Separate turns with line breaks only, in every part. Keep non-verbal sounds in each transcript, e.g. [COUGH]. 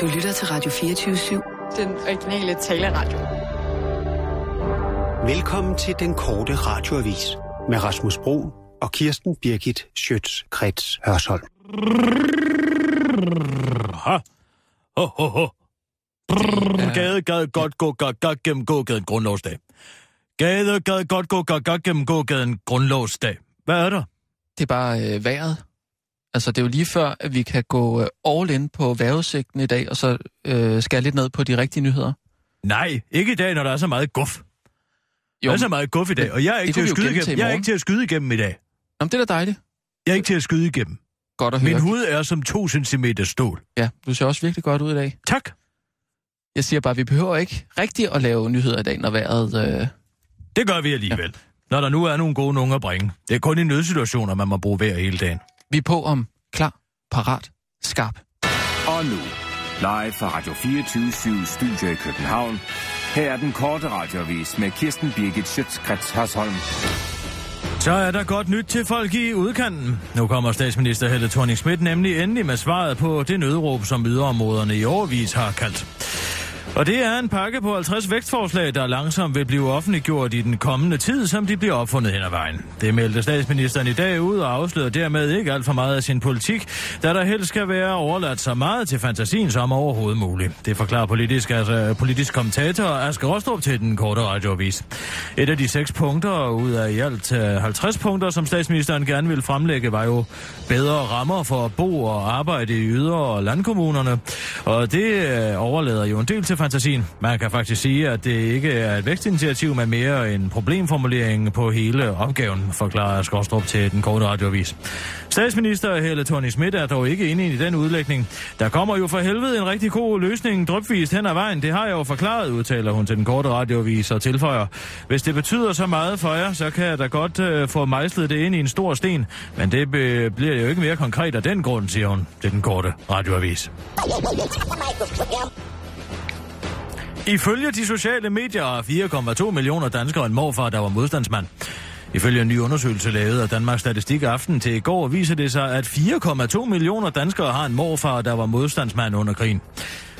Du lytter til Radio 24-7.
Den originale taleradio.
Velkommen til den korte radioavis med Rasmus Bro og Kirsten Birgit Schøtz-Krets Hørsholm.
Ha. Ho, ho, ho. Brrr, Gade gad godt gå gak gak gennem gågaden grundlovsdag. Gade gad godt gå gak gak gennem gågaden grundlovsdag. Hvad er der?
Det er bare øh, vejret. Altså, det er jo lige før, at vi kan gå øh, all in på vejrudsigten i dag, og så øh, skære lidt ned på de rigtige nyheder.
Nej, ikke i dag, når der er så meget guf. Jo, der er så meget guf i dag, og jeg er ikke,
det
til
kunne
at,
vi
skyde
jo gemme til i
igennem. jeg er
morgen.
ikke til at skyde igennem i dag.
Jamen, det er da dejligt.
Jeg er ikke til at skyde igennem.
Godt at høre.
Min hud er som to centimeter stål.
Ja, du ser også virkelig godt ud i dag.
Tak.
Jeg siger bare, at vi behøver ikke rigtig at lave nyheder i dag, når vejret... Øh...
Det gør vi alligevel. Ja. Når der nu er nogle gode nogen at bringe. Det er kun i nødsituationer, man må bruge vejr hele dagen.
Vi er på om klar, parat, skarp.
Og nu, live fra Radio 24 Studio i København. Her er den korte radiovis med Kirsten Birgit Schøtzgrads Hasholm.
Så er der godt nyt til folk i udkanten. Nu kommer statsminister Helle thorning Schmidt nemlig endelig med svaret på det nødråb, som yderområderne i overvis har kaldt. Og det er en pakke på 50 vækstforslag, der langsomt vil blive offentliggjort i den kommende tid, som de bliver opfundet hen ad vejen. Det meldte statsministeren i dag ud og afslører dermed ikke alt for meget af sin politik, da der helst skal være overladt så meget til fantasien som overhovedet muligt. Det forklarer politisk, altså, politisk kommentator Asger Rostrup til den korte radioavis. Et af de seks punkter ud af i alt øh, 50 punkter, som statsministeren gerne ville fremlægge, var jo bedre rammer for at bo og arbejde i yder- og landkommunerne. Og det øh, overlader jo en del til fantasien. Man kan faktisk sige, at det ikke er et vækstinitiativ, men mere en problemformulering på hele opgaven, forklarer Skorstrup til den korte radiovis. Statsminister Helle thorning Schmidt er dog ikke enig i den udlægning. Der kommer jo for helvede en rigtig god løsning drypvist hen ad vejen. Det har jeg jo forklaret, udtaler hun til den korte radiovis og tilføjer. Hvis det betyder så meget for jer, så kan jeg da godt øh, få mejslet det ind i en stor sten. Men det be- bliver jo ikke mere konkret af den grund, siger hun til den korte radioavis. Ifølge de sociale medier er 4,2 millioner danskere en morfar, der var modstandsmand. Ifølge en ny undersøgelse lavet af Danmarks Statistik Aften til i går, viser det sig, at 4,2 millioner danskere har en morfar, der var modstandsmand under krigen.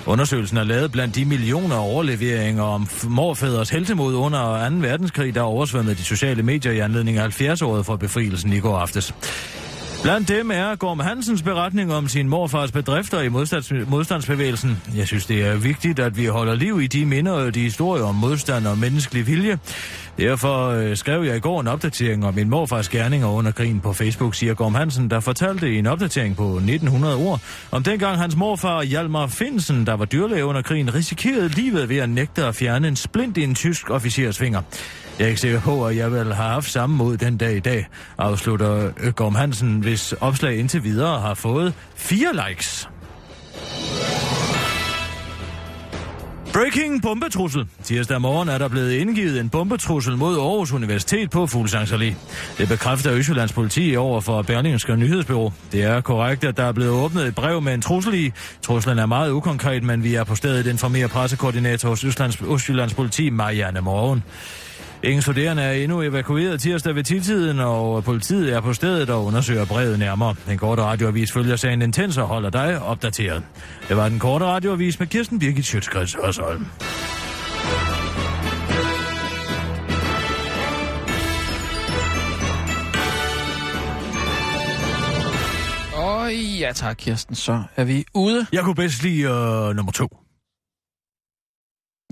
Undersøgelsen er lavet blandt de millioner overleveringer om f- morfædres heltemod under 2. verdenskrig, der oversvømmede de sociale medier i anledning af 70-året for befrielsen i går aftes. Blandt dem er Gorm Hansens beretning om sin morfars bedrifter i modstands- modstandsbevægelsen. Jeg synes, det er vigtigt, at vi holder liv i de minder og de historier om modstand og menneskelig vilje. Derfor øh, skrev jeg i går en opdatering om min morfars gerninger under krigen på Facebook, siger Gorm Hansen, der fortalte i en opdatering på 1900 ord, om dengang hans morfar Hjalmar Finsen, der var dyrlæge under krigen, risikerede livet ved at nægte at fjerne en splint i en tysk officers finger. Jeg er ikke sikker på, at jeg vil have haft samme mod den dag i dag, afslutter øh, Gorm Hansen, hvis opslag indtil videre har fået fire likes. Breaking bombetrussel. Tirsdag morgen er der blevet indgivet en bombetrussel mod Aarhus Universitet på Fuglsangs Allé. Det bekræfter Østjyllands politi over for Berlingske Nyhedsbyrå. Det er korrekt, at der er blevet åbnet et brev med en trussel i. Truslen er meget ukonkret, men vi er på stedet informerer pressekoordinator hos Østjyllands, Østjyllands politi Marianne Morgen. Ingen studerende er endnu evakueret tirsdag ved titiden, og politiet er på stedet og undersøger brevet nærmere. Den korte radioavis følger sagen intens og holder dig opdateret. Det var den korte radioavis med Kirsten Birgit Schøtzgrads Hørsholm.
Åh ja tak, Kirsten, så er vi ude.
Jeg kunne bedst lide øh, nummer to.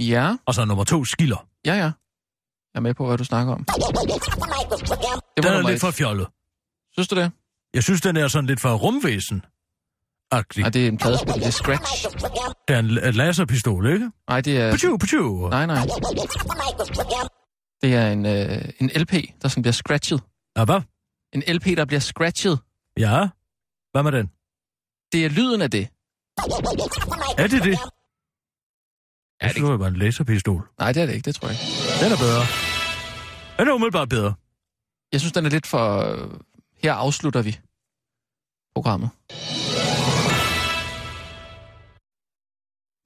Ja,
Og så nummer to skiller.
ja, ja. Jeg er med på, hvad du snakker om. Det
Den
var
er
nummer
lidt
et.
for fjollet.
Synes du det?
Jeg synes, den er sådan lidt for rumvæsen. Agtig.
Nej, det er en pladespil. Det er Scratch.
Det er en la- laserpistol, ikke?
Nej, det er...
Pachu, pachu.
Nej, nej. Det er en, øh, en LP, der sådan bliver scratchet.
Ja, Ah, hvad?
En LP, der bliver scratchet.
Ja. Hvad med den?
Det er lyden af det.
Er det det?
Ja,
Jeg
det-
synes, det var en laserpistol.
Nej, det er det ikke, det tror jeg ikke.
Den er bedre. Den er umiddelbart bedre.
Jeg synes, den er lidt for... øh, Her afslutter vi programmet.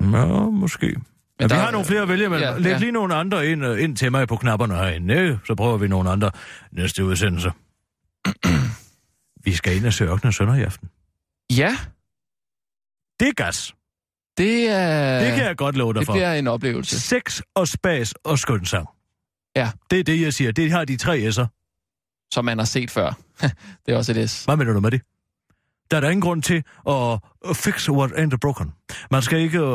Ja, måske. Men ja,
der
vi
er-
har nogle flere at vælge imellem. Ja,
ja,
Læg
ja.
lige nogle andre ind, øh, ind til mig på knapperne herinde, ikke? Så prøver vi nogle andre næste udsendelse. [CLEARS THROAT] vi skal ind og se Ørkenen Sønder i aften.
Ja,
Det er gas.
Det er...
Det kan jeg godt love dig
det
for.
bliver en oplevelse.
Sex og spas og skønsang.
Ja.
Det er det, jeg siger. Det har de tre S'er.
som man har set før. [LAUGHS] det er også et S.
Hvad mener du med det? Der er der ingen grund til at fix what ain't broken. Man skal ikke øh, øh,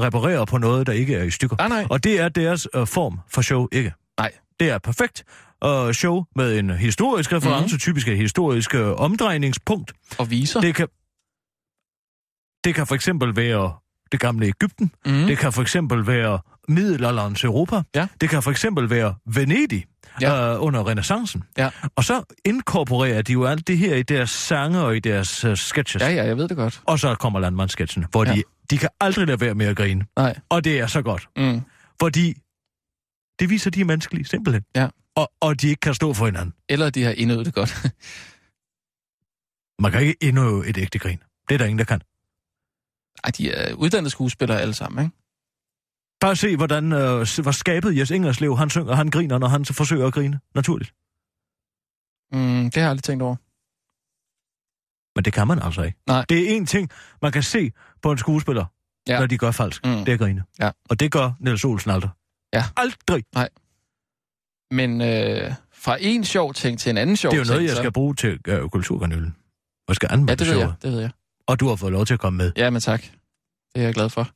reparere på noget, der ikke er i stykker.
Nej, nej.
Og det er deres øh, form for show ikke.
Nej.
Det er perfekt øh, show med en
Mhm.
historisk reference, mm-hmm. typisk et historisk øh, omdrejningspunkt.
Og viser.
Det kan, det kan for eksempel være det gamle Ægypten.
mm.
Det kan for eksempel være middelalderens Europa.
Ja.
Det kan for eksempel være Venedig
Ja.
ja. øh, under renaissancen.
Ja.
Og så inkorporerer de jo alt det her i deres sange og i deres øh, sketches.
ja, ja, jeg ved det godt.
Og så kommer landmandssketchen, hvor
Ja.
de, de kan aldrig lade være med at grine.
Nej.
Og det er så godt,
Mm.
fordi det viser, at de er menneskelige, simpelthen.
Ja.
Og, og de ikke kan stå for hinanden.
Eller de har indøvet det godt. [LAUGHS]
Man kan ikke endnu et ægte grin. Det er der ingen, der kan.
Ej, de er uddannede skuespillere alle sammen, ikke?
Bare se, hvordan øh, s- hvor skabet Jes Ingerslev, han synger, han griner, når han så forsøger at grine. Naturligt.
Mm, det har jeg aldrig tænkt over.
Men det kan man altså ikke.
Nej.
Det er en ting, man kan se på en skuespiller,
Ja.
ja. når de gør falsk.
Mm.
Mm. Det er grine.
Ja.
Og det gør Niels Olsen aldrig.
Ja.
Aldrig.
Men øh, fra en sjov ting til en anden sjov
Det er jo
ting,
noget, jeg
så-
skal bruge til øh, kulturkanølen. Og skal anmelde
Ja, det ved
showet.
jeg, det ved jeg.
Og du har fået lov til at komme med.
Ja, men tak. Det er jeg glad for.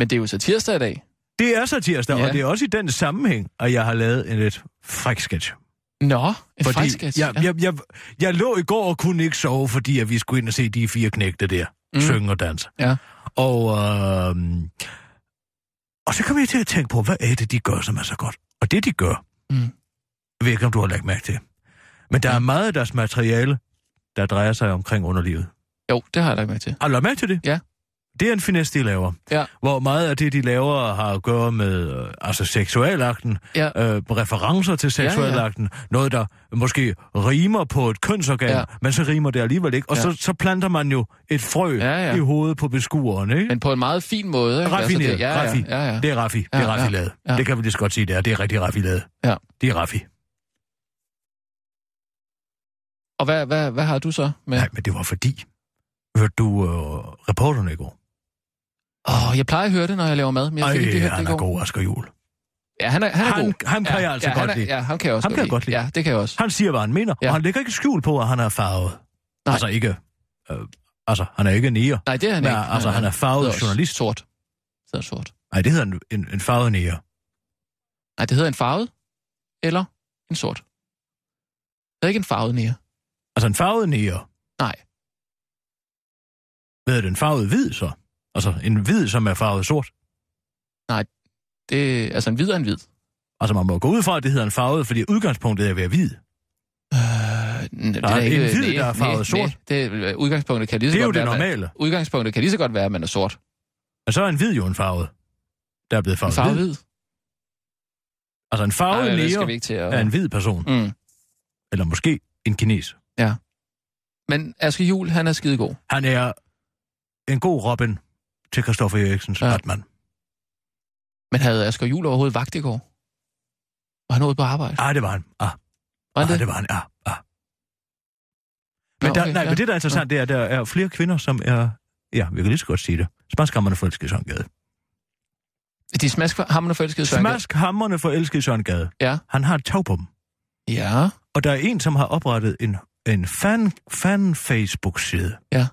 Men det er jo så tirsdag i dag.
Det er så tirsdag,
Ja.
ja. og det er også i den sammenhæng, at jeg har lavet en lidt fræk sketch.
Nå, et
Fordi
faktisk,
jeg, jeg, jeg, jeg lå i går og kunne ikke sove, fordi at vi skulle ind og se de fire knægte der. Mm. Synge og danse.
Ja.
Og, øh, og så kom jeg til at tænke på, hvad er det, de gør, som er så godt? Og det, de gør,
Mm.
mm. jeg ved ikke, om du har lagt mærke til. Men der er meget af deres materiale, der drejer sig omkring underlivet.
Jo, det har jeg lagt mærke til.
Har du lagt mærke til det?
Ja.
Det er en finesse, de laver.
Ja.
Hvor meget af det, de laver, har at gøre med øh, altså seksualakten,
Ja.
øh, referencer til
Ja, ja.
seksualakten, ja, ja. noget, der måske rimer på et kønsorgan,
Ja.
ja. men så rimer det alligevel ikke. Og
Ja.
ja. så, så planter man jo et frø
Ja, ja.
i hovedet på beskueren, ikke?
Men på en meget fin måde. ikke? Altså,
Raffineret.
det- ja,
Raffi.
ja, ja, ja.
Det er Raffi. Det
Ja,
er Raffi
ja,
lavet.
ja.
Det kan vi lige så godt sige, det er. Det er rigtig Raffi lavet.
Ja.
Det er Raffi.
Og hvad, hvad, hvad har du så med?
Nej, men det var fordi, hørte du øh, reporterne i går?
Åh, oh, jeg plejer at høre det, når jeg laver mad, men jeg
Ej,
fik ikke lige hørt det
han
i
er
går.
god, Asger Juhl.
Ja, han er, han er
Han,
god.
han kan
ja,
jeg altså
ja, han
godt
er,
lide.
Ja, ham kan jeg også
Ham kan jeg godt lide.
Ja, det kan jeg også.
Han siger, hvad han mener,
Ja.
ja. og han lægger ikke skjul på, at han er farvet.
Nej.
Nej. Altså ikke... Øh, altså, han er ikke nier.
Nej, det er han
Men
ikke.
altså, han er farvet
hedder også
journalist.
Sort. Det hedder sort.
Nej, det hedder en, en, en farvet nier.
Nej, det hedder en farvet eller en sort. Det er ikke en farvet nære.
Altså en farvet nier.
Nej.
Hvad er det, en farvet hvid så? Altså en hvid, som er farvet sort.
Det er altså en hvid er en hvid.
Altså man må gå ud fra, at det hedder en farvet, fordi udgangspunktet er at være hvid.
Øh, n- det
Der er en hvid, der er farvet sort.
det, udgangspunktet kan lige så
Det er jo
godt
det
være, man-
normale.
Udgangspunktet kan lige så godt være, at man er sort.
Og så er en hvid jo en farvet. Der er blevet
En
farvet,
farvet
hvid.
hvid.
Altså en farvet
Nej, det
nier
skal vi ikke til at...
er en hvid person. Mm.
Mm.
Eller måske en kines.
Men Aske Jul, han er skidegod.
Han er en god Robin til Christoffer Eriksens
Ja.
ja. Batman.
Men havde Asger Jul overhovedet vagt i går? Var han ude på arbejde?
Ah, det var han. Ah,
Var han
ah, det var han. Ah, ah. Men,
Nå,
der,
okay,
nej,
ja.
men det, der er interessant, det er, at der er flere kvinder, som er... Ja, vi kan lige så godt sige det. Smaskhammerne forelskede i Søren Gade.
De smask for ham, der forelskede Søren Gade.
Smaskhammerne forelskede i Søren Gade.
Ja.
Han har et tag på dem.
Ja,
Og der er en, som har oprettet en, en fan, fan Facebook-side.
Ja.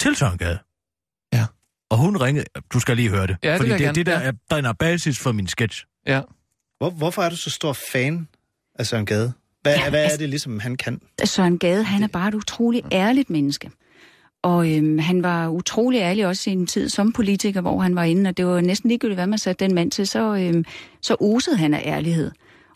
Til Søren Gade.
Ja.
Og hun ringede... Du skal lige høre det.
Ja, det
fordi
vil jeg
det er
gerne,
det, der
ja.
er, danner basis for min sketch.
ja.
Hvor, hvorfor er du så stor fan af Søren Gade? Hvad,
Ja,
ja, hvad
altså-
er det ligesom, han kan?
Søren Gade, han er bare et utroligt ærligt menneske. Og øhm, han var utrolig ærlig også i en tid som politiker, hvor han var inde, og det var næsten ligegyldigt, hvad man satte den mand til, så, øhm, så osede han af ærlighed.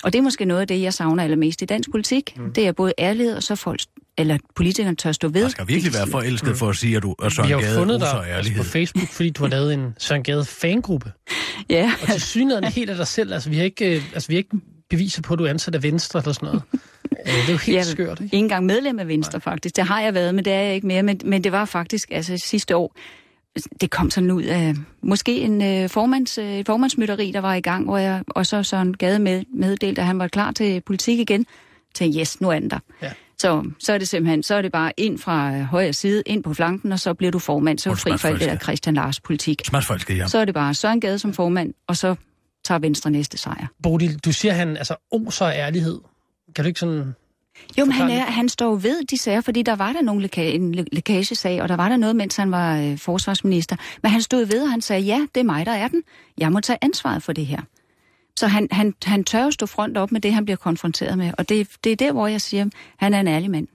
Og det er måske noget af det, jeg savner allermest i dansk politik. Mm. Det er både ærlighed, og så folk, eller politikerne tør stå ved.
Man skal virkelig
det, de [LAUGHS]
være
siger.
forelsket for at sige, at du er
Mm.
Søren
Vi har jo
Gade
fundet
oser
dig altså,
af ærlighed.
på Facebook, fordi du har lavet en Søren Gade fangruppe.
Ja,
Og til synligheden helt af dig selv. Altså, vi har ikke, øh, altså, vi har ikke beviser på, at du er ansat af Venstre eller sådan noget. Øh, Det er jo helt
Jeg-
skørt, ikke?
ikke engang medlem af Venstre faktisk. Det har jeg været, men det er jeg ikke mere. Men, men det var faktisk altså sidste år, det kom sådan ud af måske en øh, formands, øh, et formandsmytteri, der var i gang, hvor jeg, og så Søren Gade med, meddelte, at han var klar til politik igen. Til yes, nu er den der.
Ja.
Så, så er det simpelthen, så er det bare ind fra øh, højre side, ind på flanken, og så bliver du formand, så er du
Hun
fri for alt det der
smagsforelsker.
Christian Lars politik.
Smagsforelsket, ja.
Så er det bare Søren Gade som formand, og så tager Venstre næste sejr.
Bodil, du siger, han altså oser af ærlighed. Kan du ikke sådan...
Jo, men han,
Forklar
er, han står jo ved de sager, fordi der var der nogle læka- en læ- lækagesag, og der var der noget, mens han var øh, forsvarsminister. Men han stod ved, og han sagde, ja, det er mig, der er den. Jeg må tage ansvaret for det her. Så han, han, han tør jo stå front op med det, han bliver konfronteret med. Og det, det er der, hvor jeg siger, han er en ærlig mand.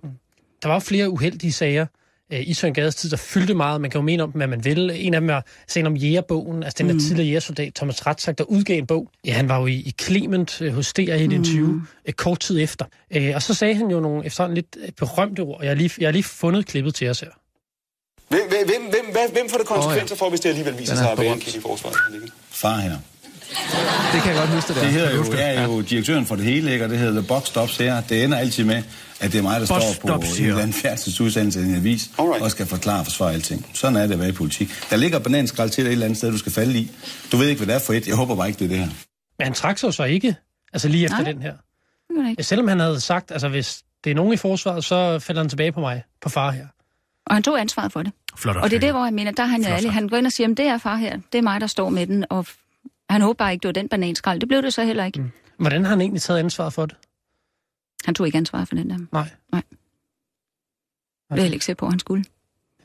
Der var jo flere uheldige sager øh, i Søren Gades tid, der fyldte meget. Man kan jo mene om dem, hvad man vil. En af dem var sagen om jægerbogen, altså den der mm. tidligere jægersoldat, Thomas Ratzak, der udgav en bog. Ja, han var jo i, i Clement øh, hos DR i 1920, mm. øh, kort tid efter. Øh, og så sagde han jo nogle efterhånden lidt øh, berømte ord, og jeg har lige, jeg har lige fundet klippet til os her.
Hvem, hvem, hvem, hvem, hvad- hvem får det konsekvenser for, hvis det alligevel viser
Den er
sig at være en
berømt.
kilde i forsvaret?
Far her.
Det kan jeg godt huske, det der.
Det hedder jo, jeg er jo direktøren for det hele, ikke? og det hedder The Box Stops her. Det ender altid med, at det er mig,
Box
der står på
Stops
en
Here.
eller anden færdselsudsendelse i en avis,
Alright.
og skal forklare og forsvare alting. Sådan er det at være i politik. Der ligger bananskrald til dig et eller andet sted, du skal falde i. Du ved ikke, hvad det er for et. Jeg håber bare ikke, det er det her.
Men han trak sig jo så ikke, altså lige efter
Nej.
den her.
Det gør han ikke.
Selvom han havde sagt, altså hvis det er nogen i forsvaret, så falder han tilbage på mig, på far her.
Og han tog ansvaret for det.
Flot
Og det er
opstilling.
det, hvor jeg mener, der er han jo
Flot
ærlig.
sagt.
Han går ind og siger, "Jamen, det er far her, det er mig, der står med den. Og f- han håber bare ikke, det var den bananskrald. Det blev det så heller ikke. Mm.
Hvordan har han egentlig taget ansvar for det?
Han tog ikke ansvaret for den der.
Nej.
Nej. Det vil jeg heller ikke se på, at han skulle.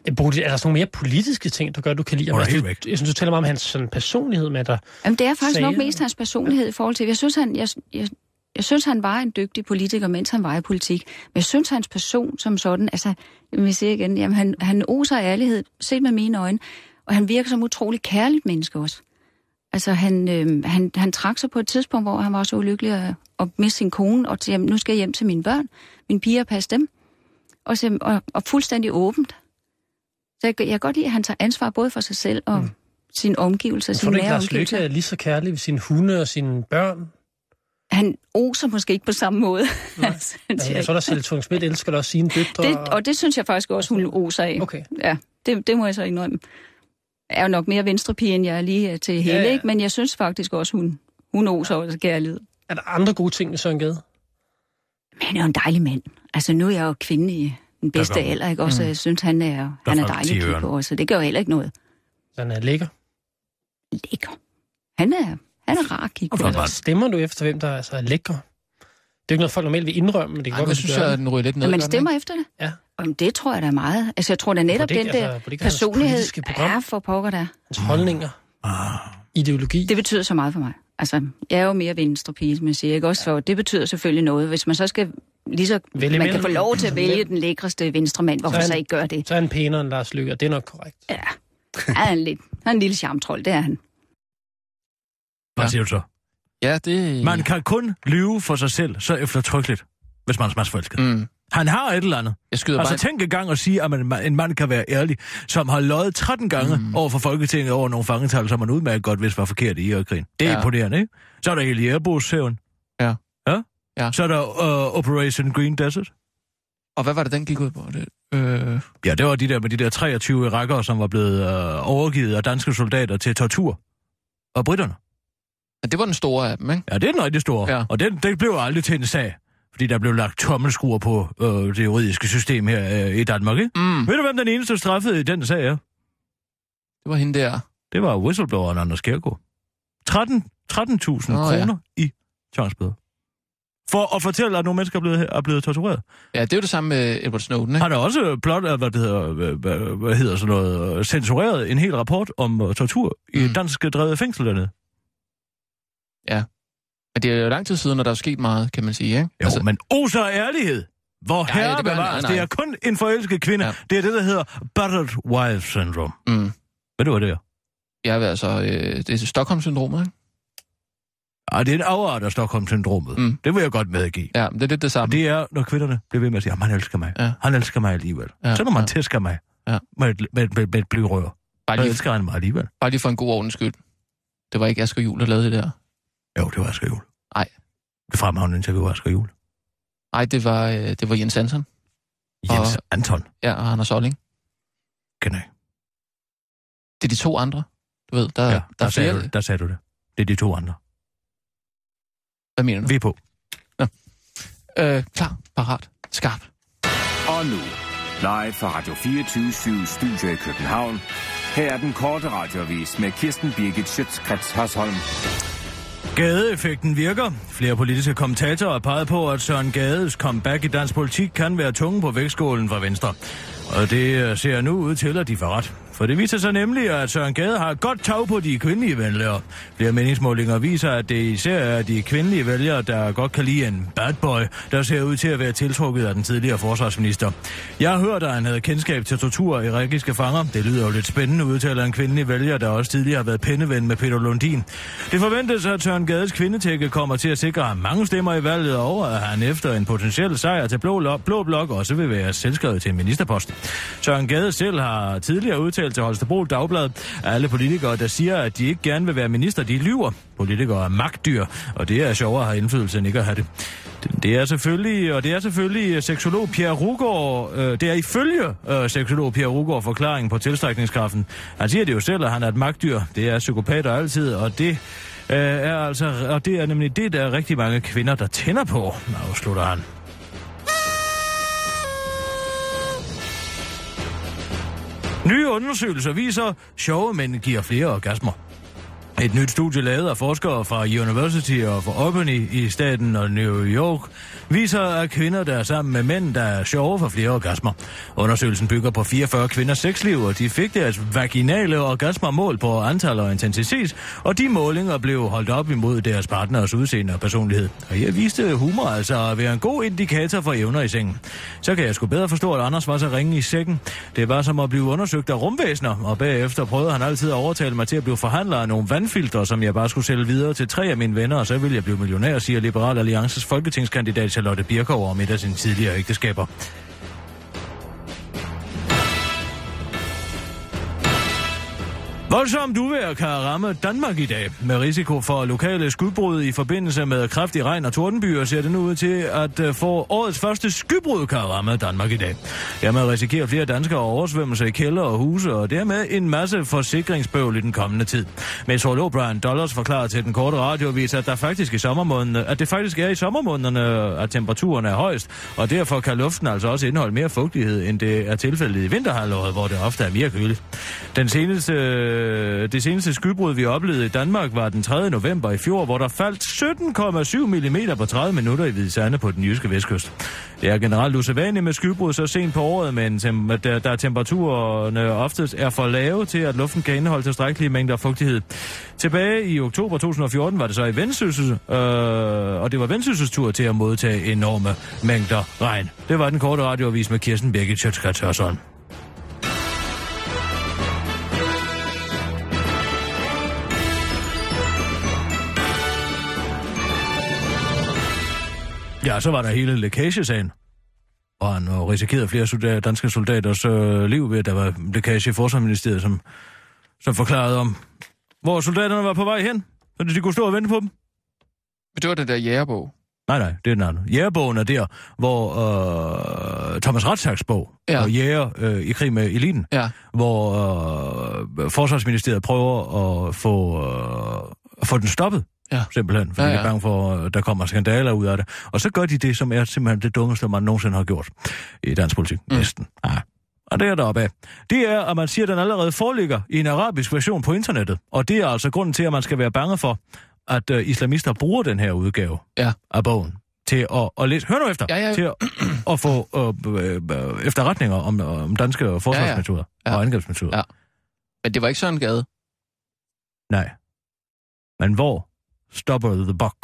Øh, Bodil, er der sådan nogle mere politiske ting, der gør, at du kan lide ham?
Hun er
Altså,
helt
du-
væk.
Jeg synes, du taler meget om hans sådan, personlighed med dig.
Jamen, det er faktisk
Sager.
nok mest hans personlighed i forhold til... Jeg synes, han, jeg, jeg, jeg synes, han var en dygtig politiker, mens han var i politik. Men jeg synes, hans person som sådan... Altså, jeg siger igen, jamen, han, han oser af ærlighed, set med mine øjne. Og han virker som utrolig kærligt menneske også. Altså, han, øh, han, han trak sig på et tidspunkt, hvor han var så ulykkelig at, at miste sin kone, og til, jamen, nu skal jeg hjem til mine børn, mine piger og passe dem. Og, sim, og, og fuldstændig åbent. Så jeg, jeg kan godt lide, at han tager ansvar både for sig selv og mm. sin omgivelser,
Tror
sin
du ikke,
nære
Lars Løkke
omgivelser.
er lige så kærlig ved sine hunde og sine børn?
han oser måske ikke på samme måde. [LAUGHS] altså,
Altså,
siger
jeg
jeg.
tror, der selv Tung Schmidt elsker da også sine døtre.
det, og det synes jeg faktisk også, hun oser af.
Altså, Okay.
Ja, det, det må jeg så indrømme. Jeg er jo nok mere venstrepige, end jeg er lige er til hele,
Ja,
ja,
ja.
ja. ikke? men jeg synes faktisk også, hun, hun oser også kærlighed.
Er der andre gode ting med Søren Gade?
Men han er jo en dejlig mand. Altså, nu er jeg jo kvinde i den bedste
Der kom-
alder, ikke? Også, jeg synes, han er, han er
kom
dejlig at kigge
tiøren.
på, så det gør jo heller ikke noget.
Den er lækker.
Lækker. Han er, han er rar at kigge på.
flot mand.
Altså, stemmer du efter, hvem der altså, er lækker? Det er jo ikke noget, folk normalt vil indrømme, men det kan godt
Ej, nu
være, de
synes
gør
jeg,
det.
at den ryger lidt ned.
Når man
gør den
stemmer
ikke?
efter det?
Ja.
Jamen, det tror jeg da er meget. Altså, jeg tror da netop,
Burde det
den
ikke-
der
altså, burde det ikke være hans
personlighed
politiske program?
er for pokker der.
Hans holdninger,
Ah,
ideologi.
Det betyder så meget for mig. Altså, jeg er jo mere venstrepige, som jeg siger, ikke? Også for, det betyder selvfølgelig noget. Hvis man så skal lige så,
Vælge
man
mellem-
kan få lov til at vælge
mellem-
den lækreste venstremand, hvorfor
Så
så,
han-
ikke gøre det?
Så er han pænere end Lars Løkke, og det er nok korrekt.
Ja, han er en, lidt, han er en lille charmtrold, det er han.
hvad
Ja.
siger du så?
Ja, det...
Mm. Man kan kun lyve for sig selv så eftertrykkeligt, hvis man er smagsforelsket.
Mm.
Han har et eller andet.
Jeg skyder bare...
Altså tænk engang at sige, at man, en mand kan være ærlig, som har løjet 13 gange mm. over for Folketinget over nogle fangetal, som man udmærket godt vidste var forkert i Irakkrigen. Det er
Ja.
ja. imponerende, ikke? Så er der Eliabos-hævn.
Ja.
ja?
Ja.
Så er der uh, Operation Green Desert.
Og hvad var det, den gik ud på? Det, øh...
Ja, det var de der med de der 23 irakere, som var blevet øh, overgivet af danske soldater til tortur. Og britterne.
ja, det var den store af dem, ikke?
Ja, det er den rigtig store.
Ja.
Ja. Og den, den blev aldrig til en sag, fordi der blev lagt tommelskruer på øh, det juridiske system her øh, i Danmark, ikke?
Mm.
Ved du, hvem den eneste straffede i den sag er?
Det var hende der.
Det var whistlebloweren Anders Kjærgaard. 13 13.000
Nå, ja.
kroner i tvangsbøder. For at fortælle, at nogle mennesker er blevet, er blevet tortureret.
Ja, det er jo det samme med Edward Snowden, ikke?
Han er også blot, øh, hvad det hedder, hvad, hvad, hvad hedder sådan noget, øh, censureret en hel rapport om øh, tortur i
Mm.
et dansk drevet fængsel dernede.
Men det er jo lang tid siden, og der er sket meget, kan man sige, ikke?
Jo, altså... men oser og ærlighed. Hvor
Nej,
herre
det
det
gør han-
bevares.
nej, nej.
Det er kun en forelsket kvinde.
Ja.
Ja. Det er det, der hedder battered wife syndrome.
Mm.
Ved du, hvad det er?
Jeg vil altså... Øh, det er Stockholm-syndromet, ikke?
Ej, Ah, det er en afart af Stockholm-syndromet.
Mm.
Mm. Det vil jeg godt medgive.
Ja, men det er lidt det
Og
samme. Det...
det er, når kvinderne bliver ved med at sige, at han elsker mig.
Ja.
Ja. Han elsker mig alligevel.
Ja,
Ja. Så når man
ja.
ja. tæsker mig
Ja.
ja. med, et, med, med, med et blyrør,
Bare,
så
lige,
elsker han mig alligevel.
bare lige for en god ordens skyld. Det var ikke Asger Jul, der lavede det der.
Jo, det var Asger Juhl.
Nej.
Det fremragende interview var Asger Juhl.
Nej, det var, øh, det var Jens Hansen.
Jens
Og-
og... Anton,
Ja, og Anders Olling.
kender jeg.
Det er de to andre. Du ved, der,
Ja,
ja,
der,
der er
sagde
flere.
du, det. der sagde du det. Det er de to andre.
Hvad mener du?
Vi er på.
Øh, klar, parat, skarp.
Og nu, live fra Radio 24 Studio i København. Her er den korte radiovis med Kirsten Birgit Schøtzgrads Hasholm.
Gadeeffekten virker. Flere politiske kommentatorer har peget på, at Søren Gades comeback i dansk politik kan være tunge på vægtskålen for Venstre. Og det øh, ser nu ud til, at de får ret. For det viser sig nemlig, at Søren Gade har et godt tag på de kvindelige vælgere. Flere meningsmålinger viser, at det især er de kvindelige vælgere, der godt kan lide en bad boy, der ser ud til at være tiltrukket af den tidligere forsvarsminister. Jeg har hørt, at han havde kendskab til tortur i irakiske fanger. Det lyder jo lidt spændende, udtaler en kvindelig vælger, der også tidligere har været penneven med Peter Lundin. Det forventes, at Søren Gades kvindetække kommer til at sikre ham mange stemmer i valget over, at han efter en potentiel sejr til Blå, Lo- Blå Blok også vil være selvskrevet til en ministerpost. Søren Gade selv har tidligere udtalt til Holstebro Dagblad, at alle politikere, der siger, at de ikke gerne vil være minister, de lyver. Politikere er magtdyr, og det er sjovere at have indflydelse end ikke at have det. Det- Det er selvfølgelig, og det er selvfølgelig øh, seksolog Pierre Rugård, øh, det er ifølge øh, seksolog Pierre Rugård forklaringen på tilstrækningskraften. Han siger det jo selv, at han er et magtdyr. Det er psykopater altid, og det øh, er altså, og det er nemlig det, der er rigtig mange kvinder, der tænder på, afslutter han. Nye undersøgelser viser, sjove mænd giver flere orgasmer. Et nyt studie lavet af forskere fra University of Albany i staten og New York viser, at kvinder, der er sammen med mænd, der er sjove for flere orgasmer. Undersøgelsen bygger på 44 kvinders sexliv, og de fik deres vaginale orgasmer målt på antal og intensitet, og de målinger blev holdt op imod deres partners udseende og personlighed. Og her viste humor altså at være en god indikator for evner i sengen. Så kan jeg sgu bedre forstå, at Anders var så ringe i sækken. Det var som at blive undersøgt af rumvæsener, og bagefter prøvede han altid at overtale mig til at blive forhandler af nogle vandfiltre, som jeg bare skulle sælge videre til tre af mine venner, og så ville jeg blive millionær, siger Liberal Alliances folketingskandidat Charlotte Birkow om et af sine tidligere ægteskaber. Voldsomt uvejr kan ramme Danmark i dag. Med risiko for lokale skudbrud i forbindelse med kraftig regn og tordenbyer, ser det nu ud til at øh, få årets første skybrud kan ramme Danmark i dag. Dermed risikerer flere danskere oversvømmelser i kælder og huse, og dermed en masse forsikringsbøvl i den kommende tid. Meteorolog Brian Dollars forklarer til den korte radiovis, at, der faktisk i sommermånederne, at det faktisk er i sommermånederne, at temperaturen er højst, og derfor kan luften altså også indeholde mere fugtighed, end det er tilfældet i vinterhalvåret, hvor det ofte er mere køligt. Den seneste, øh, det seneste skybrud, vi oplevede i Danmark, var den 3. november i fjor, hvor der faldt 17,7 mm på 30 minutter i Hvide Sande på den jyske vestkyst. Det er generelt usædvanligt med skybrud så sent på året, men tem- at der, der temperaturerne oftest er for lave til, at luften kan indeholde tilstrækkelige mængder fugtighed. Tilbage i oktober 2014 var det så i Vendsyssel, øh, og det var Vendsyssels tur til at modtage enorme mængder regn. Det var den korte radioavis med Kirsten Birgit Sjøtskrets Hørsholm. Ja, så var der hele lækagesagen. Og han og risikerede flere soldater, danske soldaters øh, liv ved, at der var lækage i Forsvarsministeriet, som, som forklarede om, hvor soldaterne var på vej hen, så de kunne stå og vente på dem.
Men det var den der jægerbog.
Nej, nej, det er den anden. Jægerbogen er der, hvor øh, Thomas Ratsaks bog,
Ja.
ja. og jæger øh, i krig med eliten,
Ja.
hvor øh, Forsvarsministeriet prøver at få, øh, at få den stoppet.
Ja.
Simpelthen, fordi
Ja,
ja,
ja.
ja. de er bange for, at der kommer skandaler ud af det. Og så gør de det, som er simpelthen det dummeste, man nogensinde har gjort i dansk politik.
Mm.
Mm. Næsten. Ja. Og det er deroppe af. Det er, at man siger, at den allerede foreligger i en arabisk version på internettet. Og det er altså grunden til, at man skal være bange for, at øh, islamister bruger den her udgave
Ja.
af bogen til at, at læse, hør nu efter,
Ja, ja.
til at, at få øh, øh, øh, efterretninger om, om danske forsvarsmetoder
Ja, ja.
og angrebsmetoder.
Ja. Men det var ikke sådan en gade.
Nej. Men hvor stopper the buck?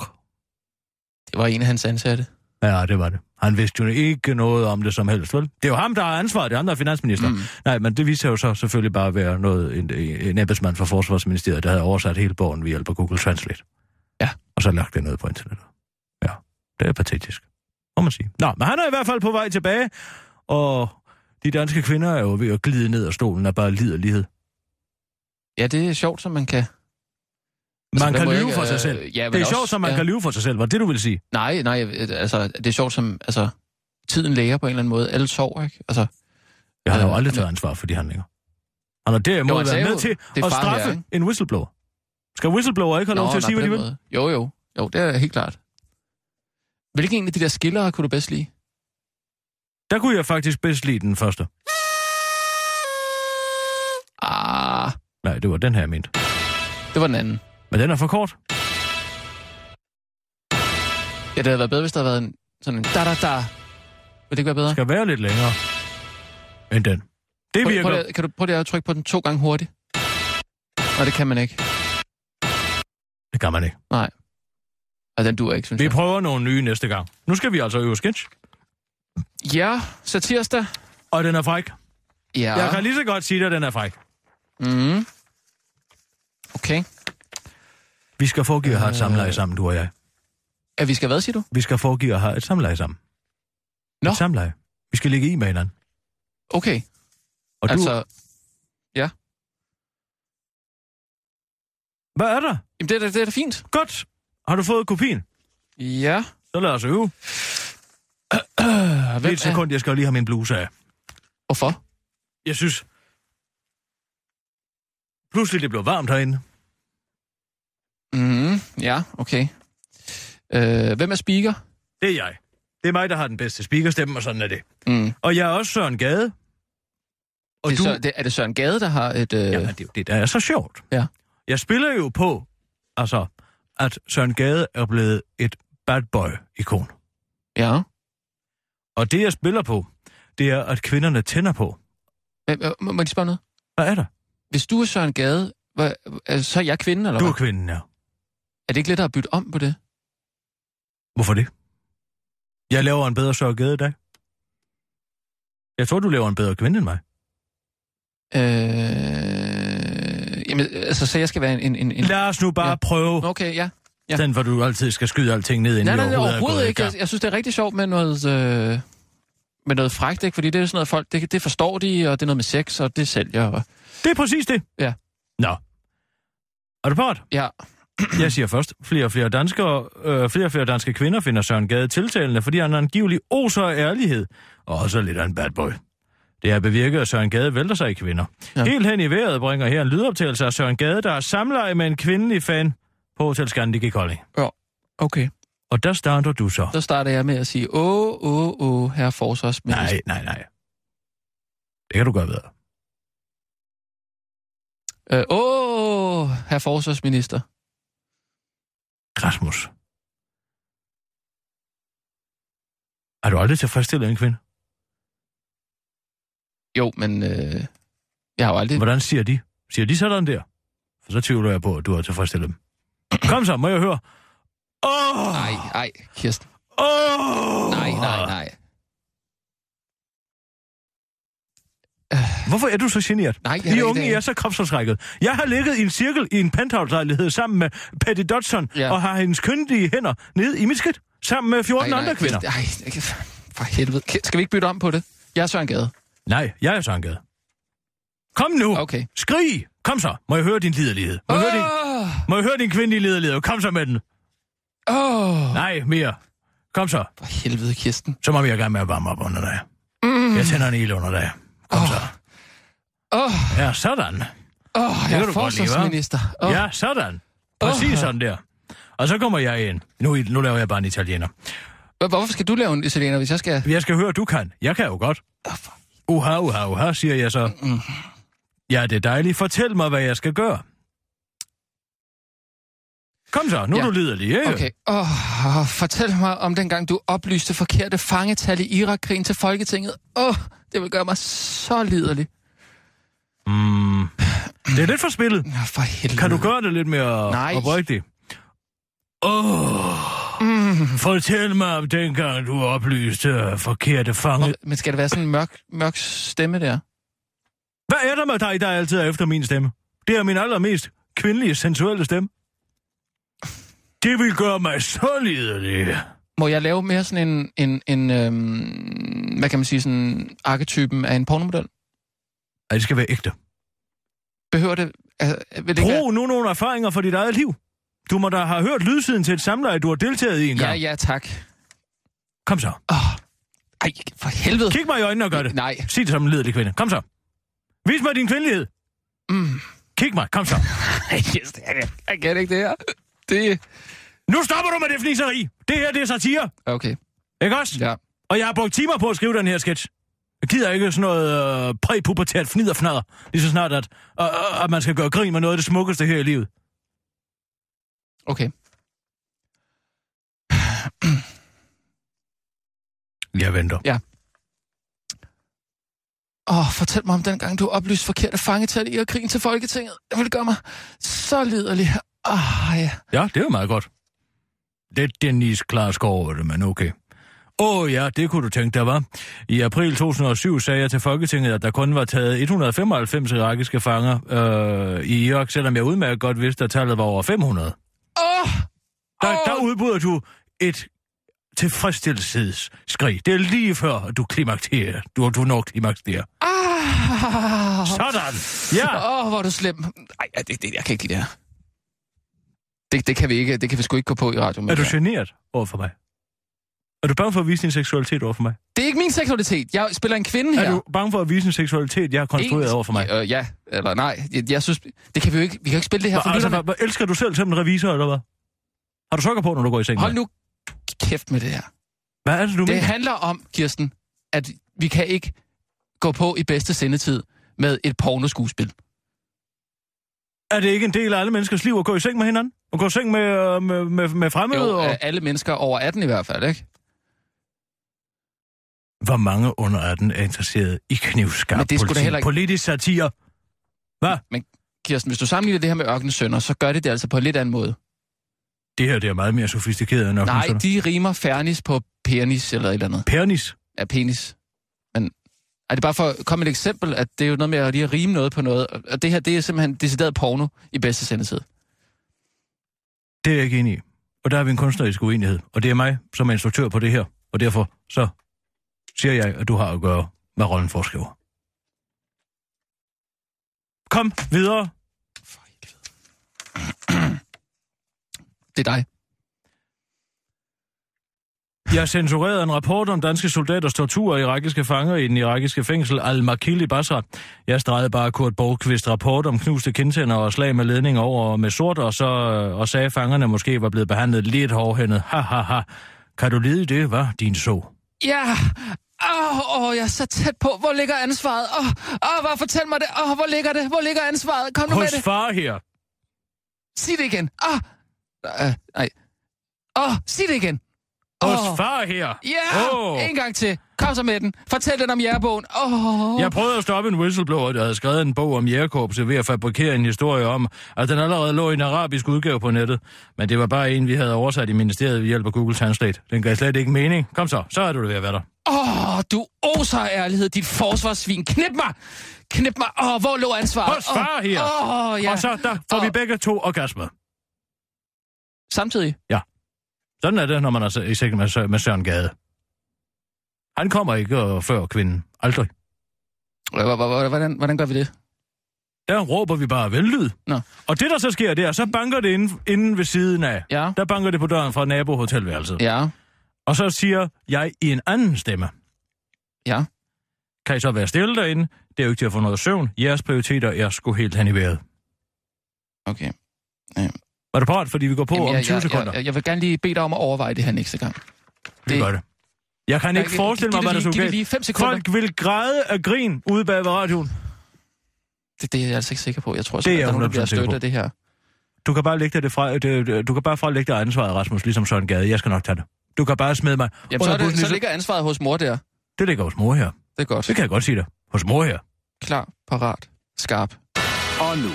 Det var en af hans ansatte.
Ja, det var det. Han vidste jo ikke noget om det som helst, vel? Det er jo ham, der har ansvaret. Det er ham, der er finansminister.
Mm.
Mm. Nej, men det viste sig jo så selvfølgelig bare at være noget, en, en embedsmand fra Forsvarsministeriet, der havde oversat hele bogen ved hjælp af Google Translate.
Ja.
Og så lagt det ned på internettet. Ja, det er patetisk. Må man sige. Nå, men han er i hvert fald på vej tilbage, og de danske kvinder er jo ved at glide ned af stolen af bare liderlighed.
Ja, det er sjovt, som man kan. Altså,
Man
der
kan
må
lyve
ikke,
for sig
øh,
selv.
ja, men
det er
også-
sjovt, som man
ja.
kan lyve for sig selv. Var det, du vil sige?
Nej, nej, øh, altså, det er sjovt, som altså, tiden læger på en eller anden måde. Alle sover, ikke? Altså,
Jeg har
Øh,
jo aldrig
men-
taget ansvar for de handlinger. Han har derimod
Jo, han
jo,
sagde
været
jo,
med til
det er
at
far her,
straffe
ikke?
en whistleblower. Skal whistleblower ikke have lov til at sige,
på
hvad de
den
vil?
måde. Jo, jo. Jo, det er helt klart. Hvilken en af de der skillere kunne du bedst lide?
Der kunne jeg faktisk bedst lide den første.
Ah,
Nej, det var den her, jeg mente.
det var den anden.
Men den er for kort.
Ja, det havde været bedre, hvis der havde været en, sådan en da-da-da. Vil det ikke være bedre?
Skal være lidt længere end den. Det
Prøv,
virker.
prøv, lige- kan du prøve lige at trykke på den to gange hurtigt? Nej, det kan man ikke.
Det kan man ikke.
Nej. Og den duer ikke, synes
Vi
jeg.
prøver nogle nye næste gang. Nu skal vi altså øve sketch.
Ja, satirsdag.
Og den er fræk.
Ja.
Jeg kan lige så godt sige dig, at den er fræk.
Mm. Okay.
Vi skal foregive at
Øh.
have et samleje sammen, du og jeg.
At vi skal hvad, siger du?
Vi skal foregive at have et samleje sammen.
Nå.
Et samleje. Vi skal ligge i med hinanden.
Okay.
Og altså...
altså,
du, hvad er der?
jamen, det, er, da- det er da fint.
Godt. Har du fået kopien?
Ja.
Så lad os øve.
Øh,
Hvem
hvem
et
er...
sekund, jeg skal jo lige have min bluse af.
Hvorfor?
Jeg synes... Pludselig det blev varmt herinde.
Mm, ja, okay. Øh, hvem er speaker?
Det er jeg. Det er mig, der har den bedste speakerstemme, og sådan er det.
Mm.
Og jeg er også Søren Gade. Og
det er, Søren, det, er det Søren Gade, der har et... Øh...
Jamen, det er jo det, der er så sjovt.
Ja.
Jeg spiller jo på, altså, at Søren Gade er blevet et bad boy-ikon.
ja.
Og det, jeg spiller på, det er, at kvinderne tænder på.
Hvem, øh, må, må jeg lige spørge noget?
Hvad er der?
Hvis du er Søren Gade, hvad, altså, så er jeg kvinden, eller
Du er
hvad?
kvinden, ja.
Er det ikke lettere at bytte om på det?
Hvorfor det? Jeg laver en bedre Søren Gade i dag. Jeg tror, du laver en bedre kvinde end mig.
Øh... Jamen, altså, så jeg skal være en... en, en...
Lad os nu bare
Ja.
ja. prøve,
Okay, ja.
ja. den hvor du altid skal skyde alting ned, inden
Nej,
vi
nej, nej,
overhovedet, er
overhovedet
gået i
ikke. Jeg,
gang.
jeg synes, det er rigtig sjovt med noget, øh, med noget frækt, ikke? Fordi det er sådan noget, folk, det, det forstår de, og det er noget med sex, og det sælger. Og,
Det er præcis det.
Ja.
Nå. Er du parat?
ja,
Jeg siger først, flere og flere danskere, øh, flere og flere danske kvinder finder Søren Gade tiltalende, fordi han angivelig oser af ærlighed, og også lidt af en bad boy. Det har bevirket, at Søren Gade vælter sig i kvinder.
Ja.
Ja. Helt hen i vejret bringer her en lydoptagelse af Søren Gade, der er samleje med en kvindelig fan på Hotel Scandic i Kolding.
okay.
Og der starter du så.
Så starter jeg med at sige, åh, åh, åh, herre forsvarsminister.
Nej, nej, nej. Det kan du gøre bedre.
Øh, åh, herre forsvarsminister.
Rasmus. Er du aldrig tilfredsstillet af en kvinde?
Jo, men øh, jeg har jo aldrig...
Hvordan siger de? Siger de sådan der? For så tvivler jeg på, at du har tilfredsstillet dem. Kom så, må jeg høre. Åh! Oh,
Nej, nej, Kirsten.
Åh!
Nej, nej, nej.
Hvorfor er du så generet?
Nej, jeg er
De
ikke
unge
det.
er så kropsforskrækket. Jeg har ligget i en cirkel i en penthouse-lejlighed sammen med Patty Dodson
Ja.
ja. og har hendes køndige hænder nede i mit skidt sammen med 14
nej,
andre kvinder.
Kirsten, Ej, for helvede. Skal vi ikke bytte om på det? Jeg er Søren Gade.
Nej, jeg er Søren Gade. Kom nu!
Okay.
Skrig! Kom så! Må jeg høre din liderlighed? Må, jeg høre din,
Åh,
må jeg høre din kvindelige liderlighed? Kom så med den!
åh,
Nej, mere. Kom så.
for helvede, Kirsten.
Så må vi i gang med at varme op under dig. Mm. Jeg tænder en ild under dig. Kom
Åh.
så.
Åh,
Ja, sådan.
Åh, oh, jeg
kan
er
du godt lide, hva'?
forsvarsminister.
Oh.
Åh,
Ja, sådan. Præcis
Åh.
oh. sådan der. Og så kommer jeg ind. Nu, nu laver jeg bare en italiener.
Hvor- Hvorfor skal du lave en italiener, hvis jeg skal...
Jeg skal høre, du kan. Jeg kan jo godt. Uha, uha, uha, siger jeg så. Ja, det er dejligt. Fortæl mig, hvad jeg skal gøre. Kom så, nu
Ja.
er du liderlig, ikke?
Okay. Åh, oh, fortæl mig om dengang, du oplyste forkerte fangetal i Irakkrigen til Folketinget. Åh, oh, det vil gøre mig så liderlig.
Mm. Det er lidt for spillet.
Nå, for helvede.
Kan du gøre det lidt mere
Nej.
oprigtigt? Åh, oh, fortæl mig om dengang, du oplyste forkerte fange.
Men skal det være sådan en mørk, mørk stemme der?
Hvad er der med dig, der altid er efter min stemme? Det er min allermest kvindelige, sensuelle stemme. Det vil gøre mig så liderlig.
Må jeg lave mere sådan en, en, en øhm, hvad kan man sige, sådan arketypen af en pornomodel?
Ej, det skal være ægte.
Behøver det... Altså, vil det ikke være...
Brug nu nogle erfaringer fra dit eget liv. Du må da have hørt lydsiden til et samleje, du har deltaget i en
Ja,
gang.
ja, tak.
Kom så.
Ej, for helvede.
Kig mig i øjnene og gør det.
Nej. [LAUGHS]
Sig det som en liderlig kvinde. Kom så. Vis mig din kvindelighed.
Mm.
Kig mig. Kom så.
Ej, yes, jeg, kan- jeg kan ikke det her. Det...
Nu stopper du med det fniseri. Det her, det er satire.
Okay,
Ikke også?
ja.
Og jeg har brugt timer på at skrive den her sketch. Jeg gider ikke sådan noget øh, præpubertært fniderfnader, lige så snart, at, øh, øh, at man skal gøre grin med noget af det smukkeste her i livet.
Okay.
Jeg venter.
Åh, fortæl mig om den gang, du oplyste forkerte fangetal i og krigen til Folketinget. Det ville gøre mig så liderlig. Ah, ja.
Ja, det er jo meget godt. Det er Denise Klarskov over det, men okay. Åh oh, ja, det kunne du tænke dig, var. I april 2007 sagde jeg til Folketinget, at der kun var taget 195 irakiske fanger øh, i Irak, selvom jeg udmærket godt vidste, at tallet var over 500. Der,
Åh!
oh. der udbryder du et tilfredsstillelsesskrig. Det er lige før, du klimakterer. Du, du når klimakterer.
Ah!
Sådan! Ja!
Åh, oh, hvor er du slem. Ej, ja, det, det, jeg kan ikke lide det her. Det, det, kan vi ikke, det kan vi sgu ikke gå på i radioen.
Er du generet over for mig? Er du bange for at vise din seksualitet over for mig?
Det er ikke min seksualitet. Jeg spiller en kvinde her.
Er du bange for at vise en seksualitet, jeg har konstrueret over for mig?
Øh, ja, eller nej. Jeg, jeg, synes, det kan vi jo ikke. Vi kan jo ikke spille det her for
Hva, altså,
lytterne.
hva, hva, elsker du selv som en revisor, eller hvad? Har du sokker på, når du går i seng?
Hold
mand?
nu kæft med det her.
Hvad er det, du det
Det
mener?
handler om, Kirsten, at vi kan ikke gå på i bedste sendetid med et pornoskuespil.
Er det ikke en del af alle menneskers liv at gå i seng med hinanden? At gå i seng med, øh, med, med, med fremmede?
Jo,
og...
af alle mennesker over 18 i hvert fald, ikke?
Hvor mange under 18 er interesseret i knivskarp
øh. Men det er sgu da
politik?
heller ikke-
Politisk satire.
Kirsten, hvis du sammenligner det her med Ørkenens Sønder, så gør det det altså på en lidt anden måde.
Det her det er meget mere sofistikeret end
Nej,
opmærksomhed.
de rimer fernis på pernis eller et eller andet.
Pernis.
Ja, penis. Men er det bare for at komme et eksempel, at det er jo noget med at lige rime noget på noget, og- og det her, det er simpelthen decideret porno i bedste sendetid.
Det er jeg ikke enig i. Og der er vi en kunstnerisk uenighed. Og det er mig, som er instruktør på det her. Og derfor så siger jeg, at du har at gøre med rollen forskriver. Kom videre.
Det er dig.
Jeg censurerede en rapport om danske soldaters tortur af irakiske fanger i den irakiske fængsel Al-Makil i Basra. Jeg stregede bare Kurt Borgqvist rapport om knuste kindtænder og slag med ledning over med sort, og, så, øh, og sagde, at fangerne måske var blevet behandlet lidt hårdhændet. Ha, ha, ha. Kan du lide det, var din så?
Ja! Åh, oh, oh, jeg er så tæt på. Hvor ligger ansvaret? Åh, oh, oh, bare fortæl mig det. Åh, oh, hvor ligger det? Hvor ligger ansvaret? Kom nu med
Hos
det.
far her.
Sig det igen. Åh, oh. uh, nej. Åh, oh, sig det igen.
Hos far her.
Ja,
Åh.
oh. en gang til. Kom så med den. Fortæl den om jærbogen. Åh, oh.
Jeg prøvede at stoppe en whistleblower, der havde skrevet en bog om jægerkorpset ved at fabrikere en historie om, at den allerede lå i en arabisk udgave på nettet. Men det var bare en, vi havde oversat i ministeriet ved hjælp af Google Translate. Den gav slet ikke mening. Kom så, så er du ved at være der.
Åh, oh, du oser af ærlighed, dit forsvarssvin. Knip mig! Knip mig! Åh, oh, hvor lå ansvaret?
Hos far
Åh,
her.
Åh, oh, ja.
Og så der får vi
Åh.
begge to orgasmer.
Samtidig.
Sådan er det, når man er i seng med Sø- med Søren Gade. Han kommer ikke øh, før kvinden. Aldrig.
H- h- h- Hvordan, hvordan gør vi det?
Der råber vi bare vellyd.
Nå.
Og det, der så sker, det er, så banker det inden, inden ved siden af.
Ja.
Der banker det på døren fra nabohotelværelset.
Ja.
Og så siger jeg i en anden stemme.
Ja.
Kan I så være stille derinde? Det er jo ikke til at få noget søvn. Jeres prioriteter er sgu helt hen i vejret.
Okay.
Var du parat, fordi vi går på Jamen, om
jeg,
20
jeg,
sekunder?
jeg, jeg, jeg vil gerne lige bede dig om at overveje det her næste gang.
vi gør det. Jeg kan ikke
Giv-
forestille
giv
mig, hvad
det
der
lige-
skulle
Giv det
galt.
lige fem sekunder. Folk.
Folk vil græde af grin ude bag ved radioen.
Det, det er jeg altså ikke sikker på. Jeg tror,
Det er
det er
jeg
der er nogen, der
100%
bliver
sikker
stødt
på.
af det her.
Du kan bare lægge dig det fra, det, det- du kan bare frelægge dig ansvaret, Rasmus, ligesom Søren Gade. Jeg skal nok tage det. Du kan bare smide mig.
Jamen, så, er
under
det,
bussen,
så
ligesom-
ligger ansvaret hos mor der.
det ligger hos mor her.
Det er godt.
Det kan jeg godt sige dig. Hos mor her.
Klar, parat, skarp.
Og nu,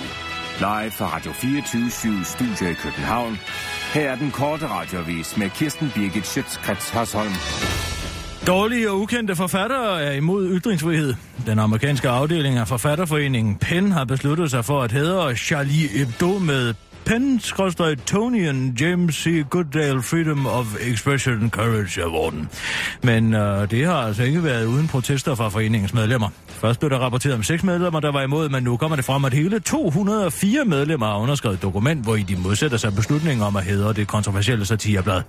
live fra Radio 24 Studio i København. Her er den korte radiovis med Kirsten Birgit Schøtzgrads Hasholm.
Dårlige og ukendte forfattere er imod ytringsfrihed. Den amerikanske afdeling af forfatterforeningen PEN har besluttet sig for at hedre Charlie Hebdo med PEN Tonian James C. Goodale Freedom of Expression and Courage Award'en. Men øh, det har altså ikke været uden protester fra foreningens medlemmer. Først blev der rapporteret om seks medlemmer, der var imod, men nu kommer det frem, at hele 204 medlemmer har underskrevet et dokument, hvor i de modsætter sig beslutningen om at hedre det kontroversielle satireblad.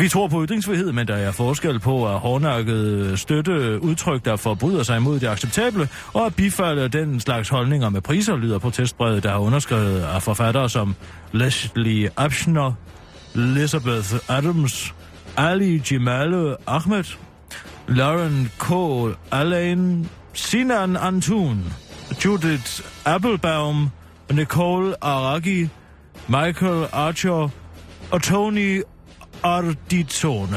Vi tror på ytringsfrihed, men der er forskel på at hårdnakket støtte udtryk, der forbryder sig imod det acceptable, og at bifalde den slags holdninger med priser, lyder protestbrevet, der er underskrevet af forfattere som Leslie Abschner, Elizabeth Adams, Ali Jemale Ahmed, Lauren K. Alain, Sinan Antun, Judith Applebaum, Nicole Araki, Michael Archer og Tony Arditone.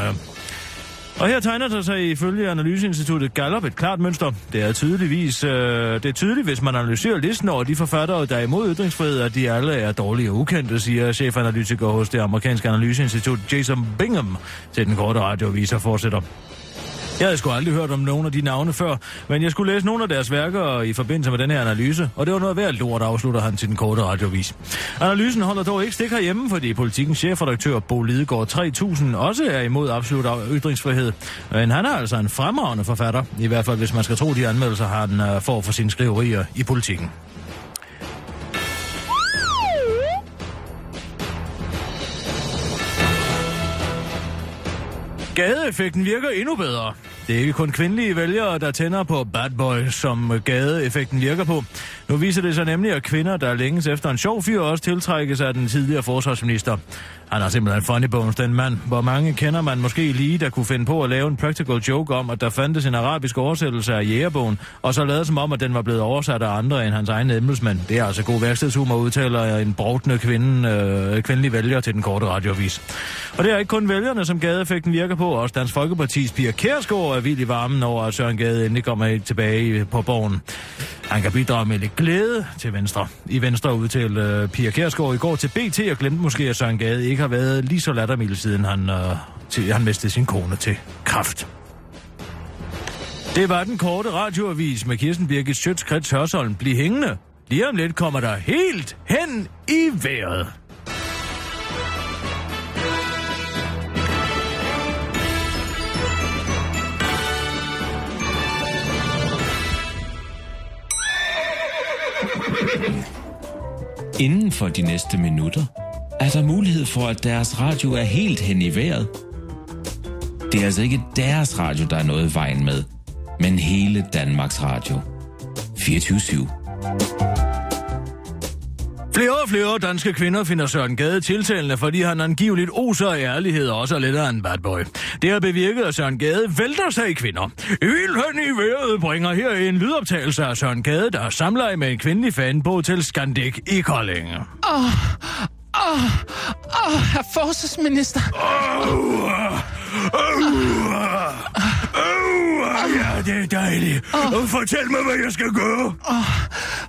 Og her tegner der sig ifølge Analyseinstituttet Gallup et klart mønster. Det er tydeligvis, øh, det er tydeligt, hvis man analyserer listen over de forfattere, der er imod ytringsfrihed, at de alle er dårlige og ukendte, siger chefanalytiker hos det amerikanske analyseinstitut Jason Bingham til den korte radioavis og fortsætter. Jeg havde sgu aldrig hørt om nogen af de navne før, men jeg skulle læse nogle af deres værker i forbindelse med den her analyse, og det var noget værd lort, afslutter han til den korte radiovis. Analysen holder dog ikke stik herhjemme, fordi politikens chefredaktør Bo Lidegaard 3000 også er imod absolut af- ytringsfrihed. Men han er altså en fremragende forfatter, i hvert fald hvis man skal tro de anmeldelser, han øh, får for sine skriverier i politikken. Gadeeffekten virker endnu bedre. Det er ikke kun kvindelige vælgere, der tænder på bad boys, som gadeeffekten virker på. Nu viser det sig nemlig, at kvinder, der længes efter en sjov fyr, også tiltrækkes af den tidligere forsvarsminister. Han har simpelthen funny bones, den mand. Hvor mange kender man måske lige, der kunne finde på at lave en practical joke om, at der fandtes en arabisk oversættelse af jægerbogen, og så lavede som om, at den var blevet oversat af andre end hans egne embedsmænd. Det er altså god værkstedshumor, udtaler en brugtende kvinde, øh, kvindelig vælger til den korte radiovis. Og det er ikke kun vælgerne, som gadeeffekten virker på. Også Dansk Folkeparti's Pia Kærsgaard er vild i varmen over, at Søren Gade endelig kommer tilbage på borgen. Han kan bidrage med lidt glæde til Venstre. I Venstre udtalte øh, Pia Kærsgaard i går til BT og glemte måske, at Søren Gade ikke har været lige så lattermild, siden han, øh, til, han mistede sin kone til kraft. Det var den korte radioavis med Kirsten Birgit Schøtzgrads Hørsholm. Bliv hængende. Lige om lidt kommer der helt hen i vejret.
Inden for de næste minutter er der mulighed for, at deres radio er helt hen i vejret. Det er altså ikke deres radio, der er noget i vejen med, men hele Danmarks Radio. 24-7.
Flere og flere danske kvinder finder Søren Gade tiltalende, fordi han angiveligt oser af ærlighed og også er lidt af en bad boy. Det har bevirket, at Søren Gade vælter sig i kvinder. Helt hen i vejret bringer her en lydoptagelse af Søren Gade, der er samleje med en kvindelig fan på til Skandik i Kolding.
Åh, oh, åh, oh, åh, oh, herr forsvarsminister.
Åh, ja, det er dejligt. Og fortæl mig, hvad jeg skal gøre.
Åh,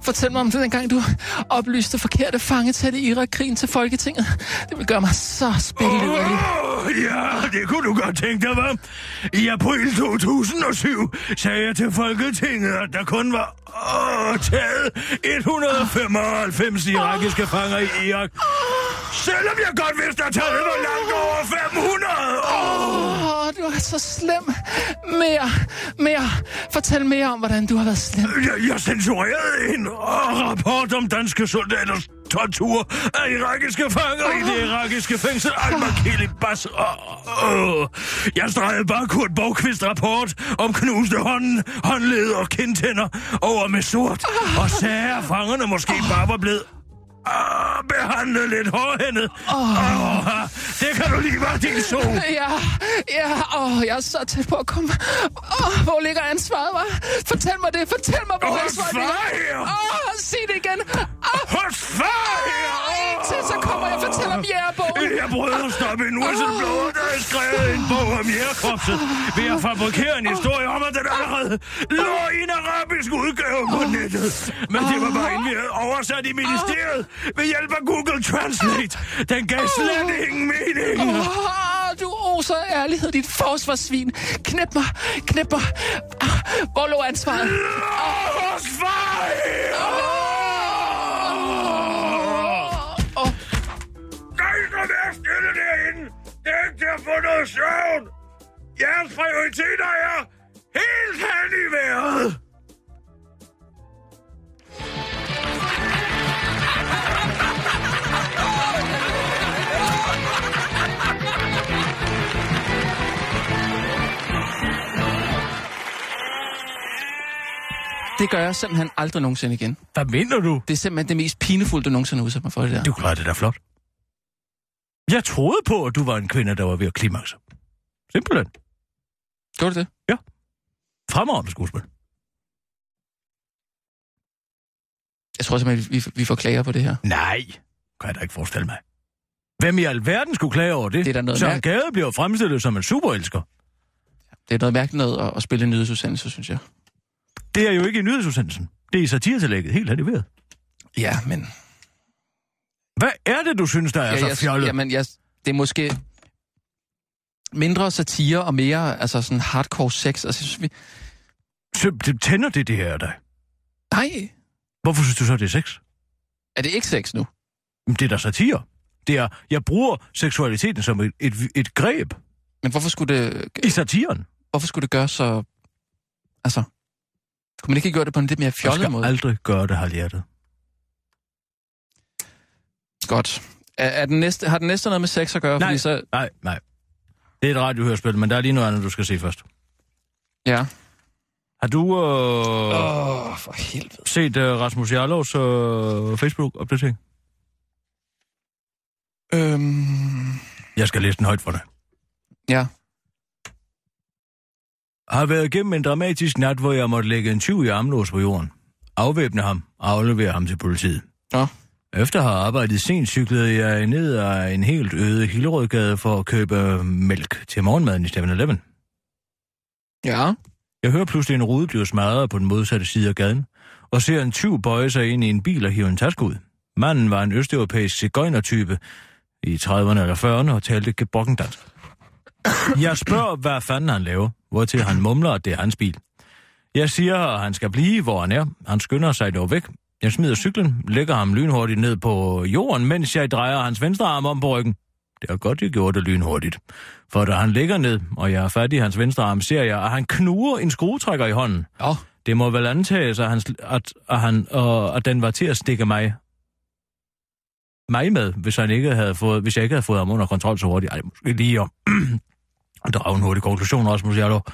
fortæl mig om den gang, du oplyste forkerte fangetal i Irak-krigen til Folketinget. Det vil gøre mig så spillelig.
Åh, ja, det kunne du godt tænke dig, var. I april 2007 sagde jeg til Folketinget, at der kun var åh, taget 195 irakiske fanger i Irak. Selvom jeg godt vidste, at tallet var langt over 500. Åh.
Åh, oh, du er så slem. Mere, mere. Fortæl mere om, hvordan du har været slem.
Jeg, jeg censurerede en øh, rapport om danske soldaters tortur af irakiske fanger i det irakiske fængsel Al-Makili Bas. Øh, jeg stregede bare Kurt Borgqvist rapport om knuste hånden, håndled og kindtænder over med sort, og sagde, at fangerne måske bare var blevet Ah, behandlet lidt hårdhændet. Oh. Oh, det kan du lige være din sol.
Ja, ja, åh, oh, jeg er så tæt på at komme. Oh, hvor ligger ansvaret, hva'? Fortæl mig det, fortæl mig, hvor
Hold
ansvaret
far
ligger.
her!
Åh, oh, sig det igen. Oh,
Hold far her!
en til, så kommer jeg og fortæller om jægerbogen.
Jeg prøvede at stoppe en whistleblower, der havde skrevet en bog om jægerkorpset ved at fabrikere en historie om, at den allerede lå i en arabisk udgave på nettet. Men det var bare en, vi havde oversat i ministeriet ved hjælp af Google Translate. Den gav slet ingen mening.
Åh, du oser af ærlighed, dit forsvarssvin. Knep mig, knep mig. Ah, Hvor lå ansvaret?
Hos far her!
Åh,
Nej, så vær stille derinde. Det er ikke til at få noget søvn. Jeres prioriteter er helt hen i vejret.
Det gør jeg simpelthen aldrig nogensinde igen.
Hvad mener du?
Det er simpelthen det mest pinefulde, du nogensinde har udsat mig for det der.
Du klarer det da flot. Jeg troede på, at du var en kvinde, der var ved at klimakse. Simpelthen.
Gjorde du det?
Ja. Fremragende skuespil.
Jeg tror simpelthen, vi, vi får klager på det her.
Nej, kan jeg da ikke forestille mig. Hvem i alverden skulle klage over det?
Det er da noget
Søren
mærk-
Gade bliver fremstillet som en superelsker.
Det er noget mærkeligt noget at, at spille en nyhedsudsendelse, synes jeg.
Det er jo ikke i nyhedsudsendelsen. Det er i satiretillægget, helt animeret.
Ja, men... altså,
Hvad er det, du synes, der er
ja,
så fjollet?
jeg, jamen, jeg, det er måske mindre satire og mere altså sådan hardcore sex. Altså, jeg synes, vi...
Så det tænder det, det her af dig.
Nej,
Hvorfor synes du så, det er sex?
er det ikke sex nu?
Jamen, det er da satire. Det er, jeg bruger seksualiteten som et, et, et greb.
Men hvorfor skulle det...
I satiren.
Hvorfor skulle det gøre så... Altså... Kunne man ikke gøre det på en lidt mere
Jeg
fjollet
skal
måde?
aldrig gøre det halvhjertet.
Godt. Er, er den næste, har den næste noget med sex at gøre?
Nej,
Fordi så...
nej, nej. Det er et radiohørspil, men der er lige noget andet, du skal se først.
Ja.
Har du øh,
Åh, oh, for helvede.
set øh, Rasmus Jarlovs øh, Facebook-opdatering?
Øhm...
Jeg skal læse den højt for dig.
Ja.
Har været igennem en dramatisk nat, hvor jeg måtte lægge en tyv i armlås på jorden. Afvæbne ham og aflevere ham til politiet.
Ja.
Efter at have arbejdet sent, cyklede jeg ned ad en helt øde Hillerødgade for at købe mælk til morgenmaden i 7-Eleven.
Ja.
Jeg hører pludselig en rude blive smadret på den modsatte side af gaden, og ser en tyv bøje sig ind i en bil og hive en taske ud. Manden var en østeuropæisk cigøjnertype i 30'erne eller 40'erne og talte gebrokkendansk. Jeg spørger, hvad fanden han laver, hvortil han mumler, at det er hans bil. Jeg siger, at han skal blive, hvor han er. Han skynder sig dog væk. Jeg smider cyklen, lægger ham lynhurtigt ned på jorden, mens jeg drejer hans venstre arm om på ryggen. Det er godt, jeg gjorde det lynhurtigt. For da han ligger ned, og jeg er fat i hans venstre arm, ser jeg, at han knuger en skruetrækker i hånden.
Ja.
Det må vel antages, at, han, at, at, han, og, at den var til at stikke mig mig med, hvis, han ikke havde fået, hvis jeg ikke havde fået ham under kontrol så hurtigt. Ej, måske lige om. [CLEARS THROAT] Og drage en hurtig konklusion også, måske jeg dog.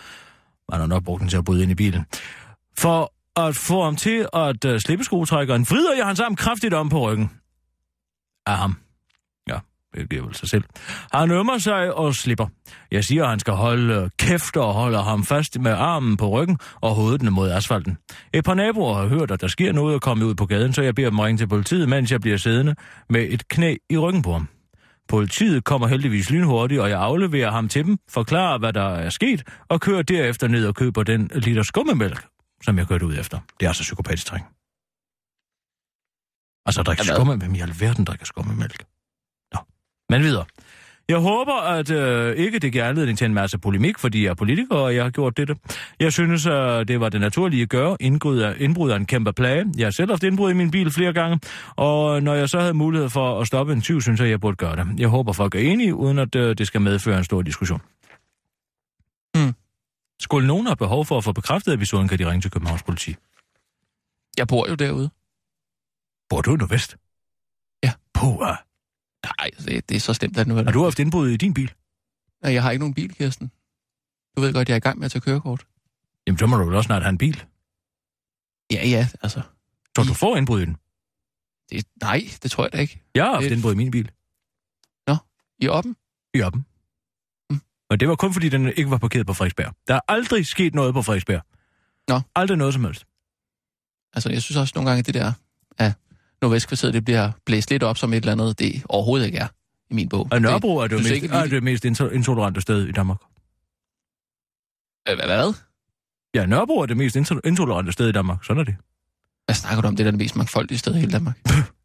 Man har nok brugt den til at bryde ind i bilen. For at få ham til at uh, slippe skruetrækkeren, vrider jeg hans arm kraftigt om på ryggen. Af ham. Ja, det giver vel sig selv. Han ømmer sig og slipper. Jeg siger, at han skal holde kæft og holder ham fast med armen på ryggen og hovedet ned mod asfalten. Et par naboer har hørt, at der sker noget og kommer ud på gaden, så jeg beder dem ringe til politiet, mens jeg bliver siddende med et knæ i ryggen på ham. Politiet kommer heldigvis lynhurtigt, og jeg afleverer ham til dem, forklarer, hvad der er sket, og kører derefter ned og køber den liter skummemælk, som jeg kørte ud efter. Det er altså psykopatisk træng. Altså, drikke
Hvad?
skummemælk. Hvem i alverden drikker skummemælk? Nå, men videre. Jeg håber, at øh, ikke det giver anledning til en masse polemik, fordi jeg er politiker, og jeg har gjort dette. Jeg synes, at det var det naturlige at gøre. Indbrud er, indbrud er en kæmpe plage. Jeg har selv haft indbrud i min bil flere gange, og når jeg så havde mulighed for at stoppe en tyv, synes jeg, jeg burde gøre det. Jeg håber, folk er enige, uden at øh, det skal medføre en stor diskussion.
Mm.
Skulle nogen have behov for at få bekræftet episoden, kan de ringe til Københavns politi.
Jeg bor jo derude.
Bor du i Nordvest?
Ja.
På, uh,
Nej, det, det er så stemt, at nu er
har du haft indbrud i din bil?
Nej, jeg har ikke nogen bil, Kirsten. Du ved godt, jeg er i gang med at tage kørekort.
Jamen, så må du vel også snart have en bil.
Ja, ja, altså.
Så du får indbrud i den.
Det, nej, det tror jeg da ikke.
Jeg har haft
Det-
indbrud i min bil.
I oppen?
i oppen.
Mm.
Og det var kun fordi, den ikke var parkeret på Frederiksberg. Der er aldrig sket noget på Frederiksberg.
Nå.
Aldrig noget som helst.
Altså, jeg synes også nogle gange, at det der af Nordvestkvarteret, det bliver blæst lidt op som et eller andet, det overhovedet ikke er i min bog.
Og Nørrebro er det, jo
synes
mest,
ikke,
ikke,
vi-
er det mest inter- intolerante sted i Danmark.
Det, hvad, hvad?
Ja, Nørrebro er det mest inter- intolerante sted i Danmark. Sådan er det.
Hvad snakker du om? Det er da det mest mangfoldige sted i hele Danmark.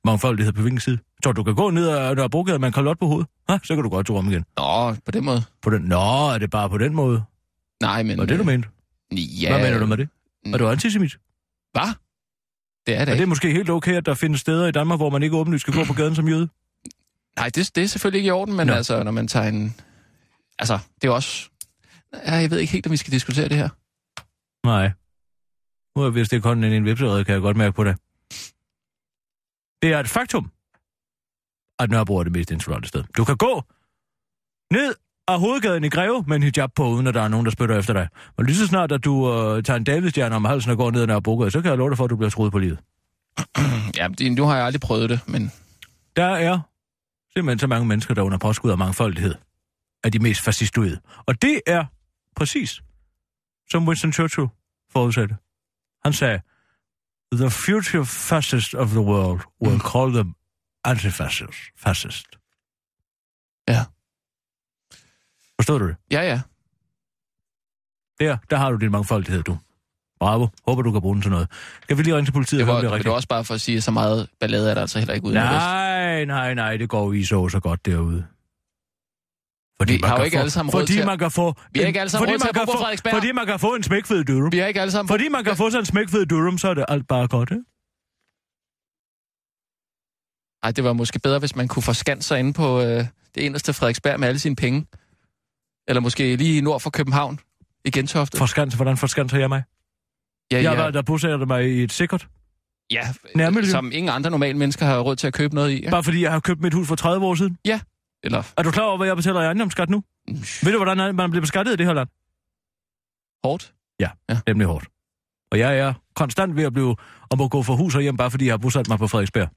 Mangfoldighed på hvilken side? Så du kan gå ned ad Nørrebrogade med en kalot på hovedet? Ha, så kan du godt tro om igen.
Nå, på den måde.
På den... Nå, er det bare på den måde?
Nej, men...
Var det, du mente?
Ja,
Hvad mener du med det? Er du antisemit?
Hvad? Det er det
Er det
ikke.
måske helt okay, at der findes steder i Danmark, hvor man ikke åbenlyst skal gå på gaden som jøde?
Nej, det, det er selvfølgelig ikke i orden, men
Nå.
altså, når man tager en... Altså, det er jo også... Ja, jeg ved ikke helt, om vi skal diskutere det her.
Nej. Nu har jeg vist ikke hånden ind i en vipserede, kan jeg godt mærke på det. Det er et faktum, at Nørrebro er det mest insolente sted. Du kan gå ned af hovedgaden i Greve med en hijab på, uden at der er nogen, der spytter efter dig. Men lige så snart, at du øh, tager en davidstjerne om halsen og går ned ad Nørrebrogade, så kan jeg love dig for, at du bliver troet på livet.
Ja, det, nu har jeg aldrig prøvet det, men...
Der er simpelthen så mange mennesker, der under påskud af mangfoldighed er de mest fascistoide. Og det er præcis, som Winston Churchill forudsatte. Han sagde, The future fascists of the world will mm. call them antifascist. Fascist.
Ja.
Forstod du det?
Ja, ja.
Der, der har du din mangfoldighed, du. Bravo. Håber, du kan bruge den til noget. Skal vi lige ringe til politiet?
Det var,
det
det var også bare for at sige, at så meget ballade er der altså heller ikke ude.
Nej, nej, nej, det går i så så godt derude.
Fordi vi man har jo ikke få, alle sammen
fordi
til...
man kan få
Vi har ikke alle sammen
fordi
råd til
man
at
kan
bo på
få,
Frederiksberg.
fordi man kan få en smækfed durum.
Vi har ikke alle sammen...
Fordi man kan få sådan en smækfed durum, så er det alt bare godt, ikke?
Ej, det var måske bedre, hvis man kunne forskanse sig inde på øh, det eneste Frederiksberg med alle sine penge. Eller måske lige nord for København i Gentofte.
Forskanse, hvordan forskanser jeg mig?
Ja,
Jeg har
ja,
været der bosætter mig i et sikkert.
ja,
Nærmiljø.
som ingen andre normale mennesker har råd til at købe noget i. Ja.
Bare fordi jeg har købt mit hus for 30 år siden.
ja. Eller mm,
Er du klar over, hvad jeg betaler i ejendomsskat nu? Ved du, hvordan man bliver beskattet i det her land?
hårdt.
Ja, ja. nemlig hårdt. Og jeg er konstant ved at blive om at gå fra hus og hjem, bare fordi jeg har bosat mig på Frederiksberg.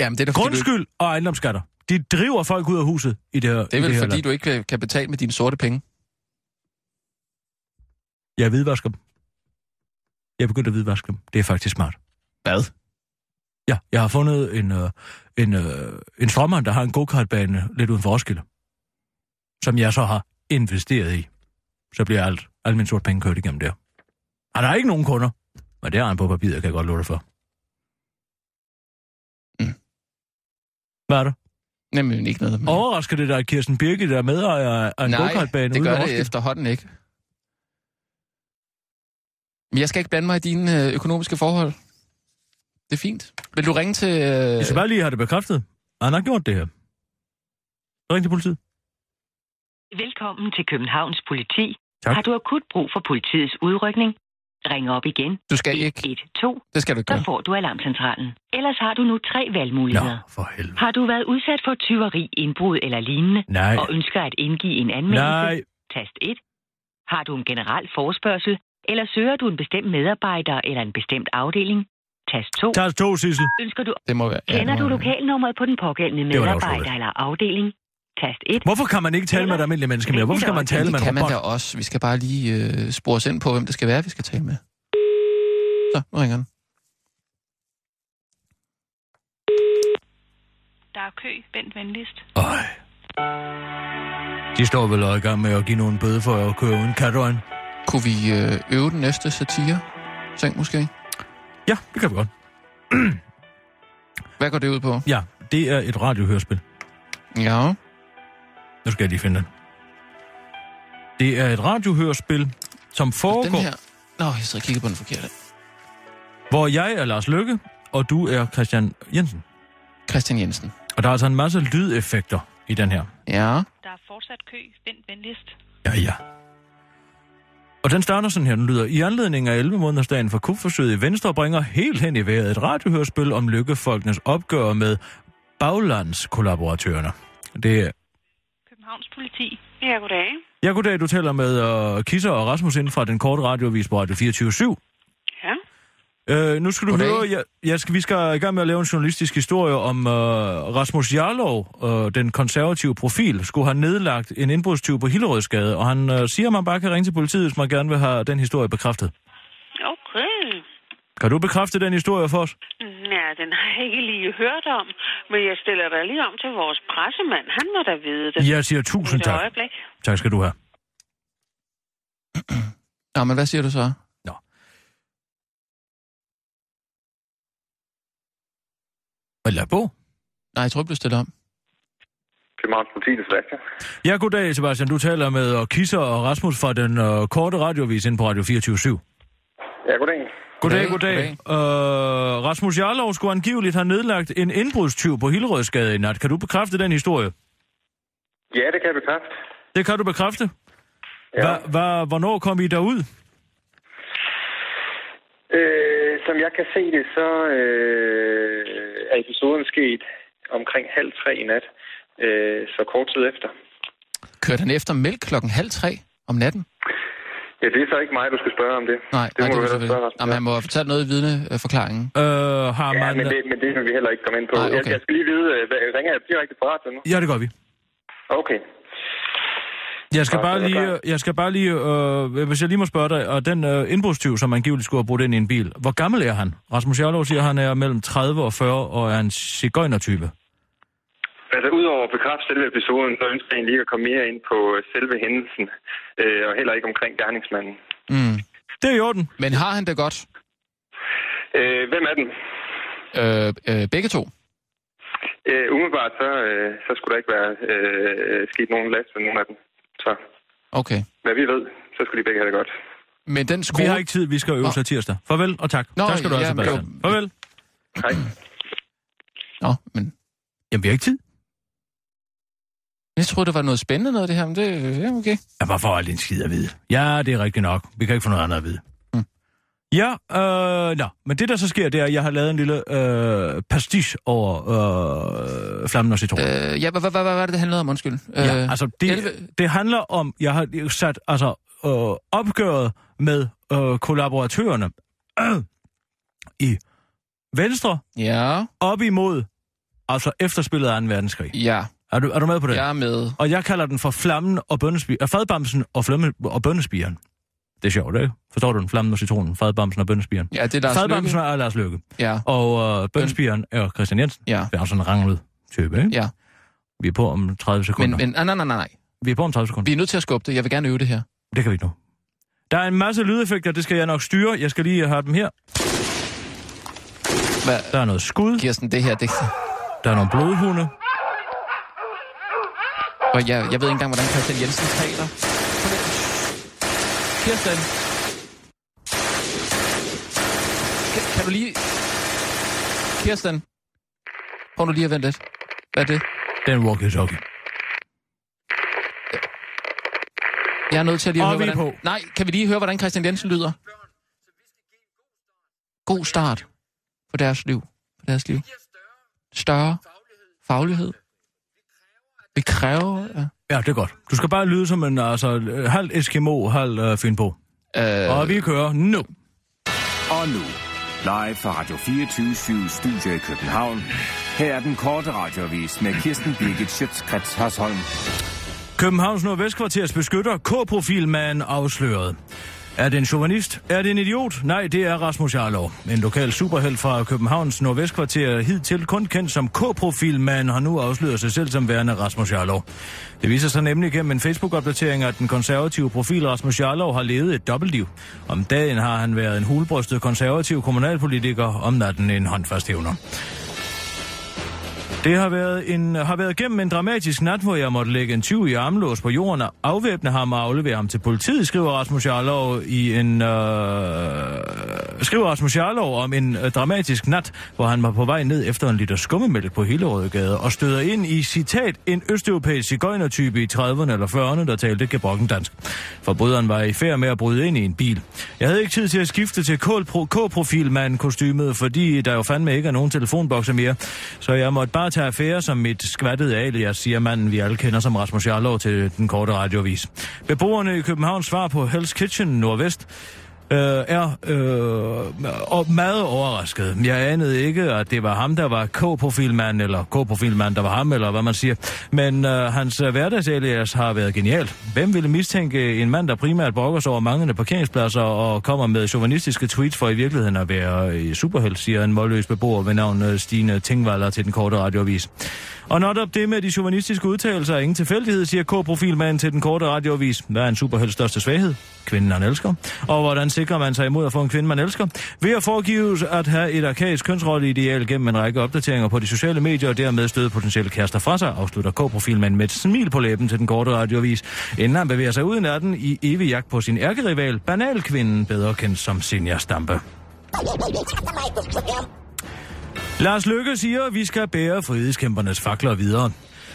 Jamen, det er da, fordi du ikke-
Grundskyld og ejendomsskatter. De driver folk ud af huset i det her
Det er vel,
i det
fordi
her land.
du ikke øh, kan betale med dine sorte penge.
Jeg hvidvasker dem. Jeg begyndte at hvidvaske dem. Det er faktisk smart.
Hvad?
Ja, jeg har fundet en, øh, en, øh, en strømmer, der har en go-kartbane lidt uden for Roskilde, som jeg så har investeret i. Så bliver alt, alt min sort penge kørt igennem der. Han har ikke nogen kunder, men det har han på papiret, kan jeg godt love dig for.
Mm.
Hvad er det?
Nemlig ikke noget. Men...
Overrasker det dig, at Kirsten Birgit er medejer af- af en go-kartbane
Nej, det
uden
gør
for
det
Roskilde?
efterhånden ikke. Men jeg skal ikke blande mig i dine øh, økonomiske forhold. Det er fint. Vil du ringe til... Øh...
Jeg skal bare lige have det bekræftet. Han har gjort det her. Så ring til politiet.
Velkommen til Københavns Politi.
Tak.
Har du akut brug for politiets udrykning? Ring op igen.
Du skal ikke.
112.
Det skal du ikke
Så
gøre.
får du alarmcentralen. Ellers har du nu tre valgmuligheder.
Nå, for helvede.
Har du været udsat for tyveri, indbrud eller lignende?
Nej.
Og ønsker at indgive en anmeldelse?
Nej.
Tast 1. Har du en generel forespørgsel? Eller søger du en bestemt medarbejder eller en bestemt afdeling? Tast 2.
Tast 2, Sissel.
Ønsker du...
Det må være... ja,
Kender
det
du
må være-
lokalnummeret på den pågældende
Det var da
medarbejder
utroligt.
eller afdeling? Tast 1.
Hvorfor kan man ikke tale med et almindeligt menneske mere? Hvorfor skal man tale
det
med en
kan man
robot?
da også. Vi skal bare lige øh, spore os ind på, hvem det skal være, vi skal tale med. Så, nu ringer den.
Der er kø, vent venligst.
Øj. De står vel og er i gang med at give nogen bøde for at køre uden kattøjen.
Kunne vi øh, øve den næste satire? Tænk måske.
Ja, det kan vi godt.
Hvad går det ud på?
Ja, det er et radiohørspil.
Ja.
Nu skal jeg lige finde den. Det er et radiohørspil, som
Den
foregår,
her... Nå, jeg sidder og kigger på den forkerte.
hvor jeg er Lars Lykke, og du er Christian Jensen.
Christian Jensen.
Og der er altså en masse lydeffekter i den her.
Ja.
Der er fortsat kø, vent venligst.
Ja, ja. Og den starter sådan her, den lyder. I anledning af 11 månedersdagen for kupforsøget i Venstre bringer helt hen i vejret et radiohørspil om lykkefolkenes opgør med baglandskollaboratørerne. Det er...
Københavns politi. Ja, goddag.
Ja, goddag, du taler med uh, Kisser og Rasmus inden fra den korte radiovis på Radio 24
Ja.
Øh, nu skal du
Goddag.
Goddag. høre, jeg, jeg skal, vi skal i gang med at lave en journalistisk historie om øh, Rasmus Jarlov, øh, den konservative profil, skulle have nedlagt en indbrudstyv på Hillerødsgade, og han øh, siger, at man bare kan ringe til politiet, hvis man gerne vil have den historie bekræftet.
Okay.
Kan du bekræfte den historie for os?
Ja, den har jeg ikke lige hørt om, men jeg stiller dig lige om til vores pressemand. Han må da vide det.
Jeg siger tusind
Et
tak.
øjeblik.
Tak skal du have.
Nå, men hvad siger du så?
Men lad på.
Nej, jeg tror, jeg blev stillet om.
Københavns politi, det Sebastian.
Ja, goddag Sebastian. Du taler med øh, Kisser og Rasmus fra den øh, korte radiovis inde på Radio 24
Ja, goddag.
Goddag, goddag. Øh, Rasmus Jarlov skulle angiveligt have nedlagt en indbrudstyv på Hillerødsgade i nat. Kan du bekræfte den historie?
Ja, det kan jeg bekræfte.
Det kan du bekræfte. Ja. Hva, hva, hvornår kom I derud?
Øh, som jeg kan se det, så øh, er episoden sket omkring halv tre i nat, øh, så kort tid efter.
Kørte han efter mælk klokken halv tre om natten?
Ja, det er så ikke mig, du skal spørge om det.
Nej,
det
nej, det
må du
er
hellere spørge
selvfølgelig.
Rasmus.
Jamen, han må have fortalt noget i vidneforklaringen.
Øh, har
Ja, men det, men det vil vi heller ikke komme ind på.
Nej,
Nej,
okay.
okay. jeg, jeg skal lige vide, øh, hvad, ringer jeg direkte på radioen nu?
Ja, det gør vi.
Okay.
Jeg skal bare lige, jeg skal bare lige øh, hvis jeg lige må spørge dig, og den øh, indbrudstyv, som angiveligt skulle have brudt ind i en bil, hvor gammel er han? Rasmus Jarlov siger, at han er mellem 30 og 40 og er en cigøjnertype.
Altså, udover at bekræfte selve episoden, så ønsker jeg egentlig ikke at komme mere ind på selve hændelsen, øh, og heller ikke omkring gerningsmanden.
Mm.
Det er i orden.
Men har han det godt?
Øh, hvem er den?
Øh, øh, begge to.
Øh, umiddelbart, så, øh, så skulle der ikke være øh, sket nogen last med nogen af dem. Så
Okay.
hvad vi ved, så skulle de begge have det godt.
Men den
Vi
skole...
har ikke tid, vi skal øve sig tirsdag. Farvel og tak.
Nå,
tak skal du have,
ja, men-
Sebastian. Farvel.
Hej.
Nå, men...
Jamen, vi har ikke tid.
Jeg troede, det var noget spændende noget, det her, men det er ja, okay.
Jeg bare får aldrig en skid at vide. Ja, det er rigtigt nok. Vi kan ikke få noget andet at vide. Mm. Ja, øh, nå. Men det, der så sker, det er, at jeg har lavet en lille øh, pastiche over øh, flammen og citron. Øh,
Øh, ja, hvad, hvad, hvad, hvad var det, det handlede om, undskyld? Øh,
ja, altså, det, 11... det handler om, jeg har sat altså, øh, opgøret med øh, kollaboratørerne [CLEARS THROAT] øh, i Venstre
Ja,
op imod altså efterspillet af 2. verdenskrig.
ja.
Er du, er du med på det?
Jeg er med.
Og jeg kalder den for flammen og bønnespi- øh, fadbamsen og, flamme- og bønnespiren. Det er sjovt, ikke? Forstår du den? Flammen og citronen, fadbamsen og bønnespiren.
Ja, det er Lars
Fadbamsen
Løkke.
er Lars Løkke.
Ja,
Og øh, bønnespiren er Christian Jensen.
Ja.
Det er altså en ranglet type, ikke?
ja.
Vi er på om 30 sekunder.
Men, men nej, nej, nej, nej.
Vi er på om 30 sekunder.
Vi er nødt til at skubbe det. Jeg vil gerne øve det her.
Det kan vi ikke nå. Der er en masse lydeffekter, det skal jeg nok styre. Jeg skal lige have dem her.
Hvad?
Der er noget skud.
Kirsten, det her, det...
Der er nogle blodhunde.
Og jeg, jeg ved ikke engang, hvordan Christian Jensen taler. Kom her. Kirsten. Kan, kan du lige... Kirsten. Prøv nu lige at vente lidt. Hvad er det?
Det er en walkie-talkie.
Jeg er nødt til at lige at
Og
høre,
vi er
hvordan... Nej, kan vi lige høre, hvordan Christian Jensen lyder? God start på deres liv. På deres liv. Større faglighed. Vi kræver... Ja.
Ja, det er godt. Du skal bare lyde som en altså, øh, halv Eskimo, halv øh, Fynbo.
Øh...
Og vi kører nu.
Og nu, live fra Radio 24 Studio i København. Her er den korte radiovis med Kirsten Birgit Schøtzgrads Hasholm.
Københavns Nordvestkvarters beskytter K-profilmanden afsløret. Er det en chauvinist? Er det en idiot? Nej, det er Rasmus Jarlov. En lokal superheld fra Københavns Nordvestkvarter, hidtil kun kendt som K-profilmand, har nu afsløret sig selv som værende Rasmus Jarlov. Det viser sig nemlig gennem en Facebook-opdatering, at den konservative profil Rasmus Jarlov har levet et dobbeltliv. Om dagen har han været en hulbrystet konservativ kommunalpolitiker, om natten en håndfasthævner. Det har været, en, har været gennem en dramatisk nat, hvor jeg måtte lægge en 20 i armlås på jorden og afvæbne ham og aflevere ham til politiet, skriver Rasmus Jarlov i en... Øh, skriver Rasmus Jarlov om en øh, dramatisk nat, hvor han var på vej ned efter en liter skummemælk på Hillerødgade og støder ind i, citat, en østeuropæisk cigøjnertype i 30'erne eller 40'erne, der talte gebrokken dansk. Forbryderen var i færd med at bryde ind i en bil. Jeg havde ikke tid til at skifte til kålpro- K-profilmanden kostymet, fordi der jo fandme ikke er nogen telefonbokse mere. Så jeg måtte bare tage affære som mit skvattede alias, siger manden, vi alle kender som Rasmus Jarlov til den korte radiovis. Beboerne i Københavns svar på Hell's Kitchen Nordvest øh, er øh, og meget overrasket. Jeg anede ikke, at det var ham, der var K-profilmand, eller K-profilmand, der var ham, eller hvad man siger. Men øh, hans øh, hverdagsallias har været genialt. Hvem ville mistænke en mand, der primært brokker sig over manglende parkeringspladser og kommer med chauvinistiske tweets for i virkeligheden at være øh, i superheld, siger en målløs beboer ved navn øh, Stine Tingvaller til den korte radioavis. Og når op det med de chauvinistiske udtalelser er ingen tilfældighed, siger K-profilmanden til den korte radioavis. Hvad er en superhelds største svaghed? Kvinden han elsker. Og hvordan sikrer man sig imod at få en kvinde, man elsker? Ved at foregives at have et arkaisk kønsrolleideal gennem en række opdateringer på de sociale medier, og dermed støde potentielle kærester fra sig, afslutter K-profilmanden med et smil på læben til den korte radioavis, inden han bevæger sig ud i natten i evig jagt på sin ærkerival, banalkvinden, bedre kendt som Senior Stampe. Lars Løkke siger, at vi skal bære frihedskæmpernes fakler videre.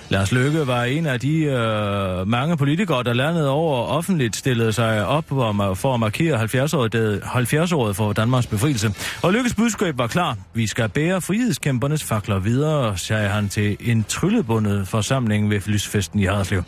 Lars Løkke var en af de øh, mange politikere, der landet over offentligt stillede sig op om at- for at markere 70-året, 70-året for Danmarks befrielse. Og Løkkes budskab var klar. Vi skal bære frihedskæmpernes fakler videre, sagde han til en tryllebundet forsamling ved lysfesten i Haderslev.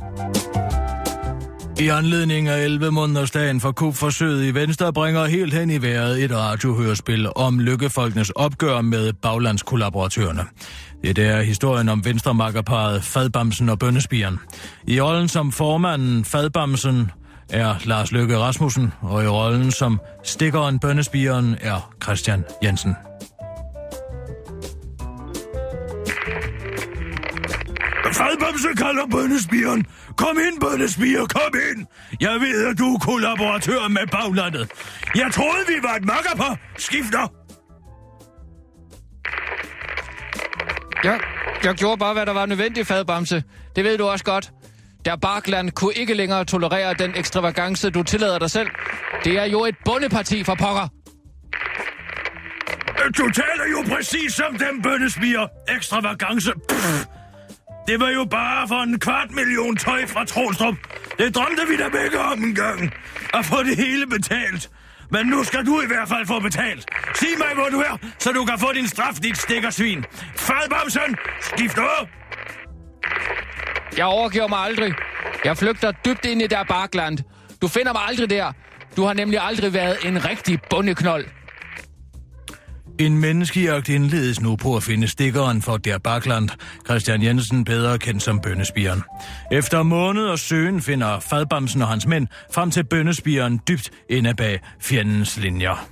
I anledning af 11 månedersdagen for kupforsøget i Venstre bringer helt hen i vejret et radiohørespil om lykkefolkenes opgør med baglandskollaboratørerne. Det er historien om venstremakkerparet Fadbamsen og Bønnespiren. I rollen som formanden Fadbamsen er Lars Løkke Rasmussen, og i rollen som stikkeren Bønnespiren er Christian Jensen.
Fadbamse kalder bønnespiren. Kom ind, bønnespiger, kom ind. Jeg ved, at du er kollaboratør med baglandet. Jeg troede, vi var et makkerpar. Skifter.
Jeg, jeg gjorde bare, hvad der var nødvendigt, fadbamse. Det ved du også godt. Der Barkland kunne ikke længere tolerere den ekstravagance, du tillader dig selv. Det er jo et bondeparti for pokker.
Øh, Du taler jo præcis som dem, bønnespiger. Ekstravagance. Pff. Det var jo bare for en kvart million tøj fra Trostrup. Det drømte vi da begge om en gang. At få det hele betalt. Men nu skal du i hvert fald få betalt. Sig mig, hvor du er, så du kan få din straf, dit stikkersvin. Fadbamsen, skift over.
Jeg overgiver mig aldrig. Jeg flygter dybt ind i der bakland. Du finder mig aldrig der. Du har nemlig aldrig været en rigtig bondeknold.
En menneskejagt indledes nu på at finde stikkeren for Der Bakland, Christian Jensen bedre kendt som Bønnespiren. Efter måneder søgen finder Fadbamsen og hans mænd frem til Bønnespiren dybt inde bag fjendens linjer.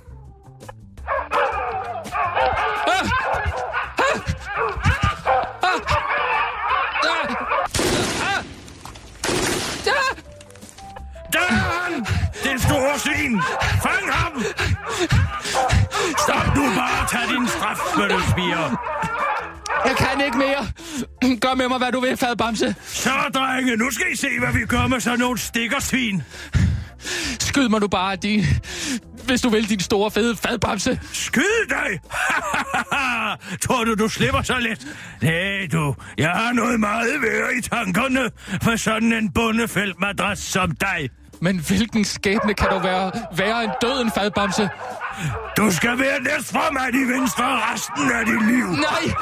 Dan! Den store svin! Fang ham! Stop nu bare og tag din straf, bøllespire.
Jeg kan ikke mere. Gør med mig, hvad du vil, fadbamse.
Så, drenge, nu skal I se, hvad vi gør med sådan nogle stikkersvin.
Skyd mig nu bare, din, hvis du vil, din store, fede fadbamse.
Skyd dig! [LAUGHS] Tror du, du slipper så let? Nej, du. Jeg har noget meget værre i tankerne for sådan en bundefældt madras som dig.
Men hvilken skæbne kan du være værre end døden, fadbamse?
Du skal være næstformand i Venstre resten af dit liv.
Nej!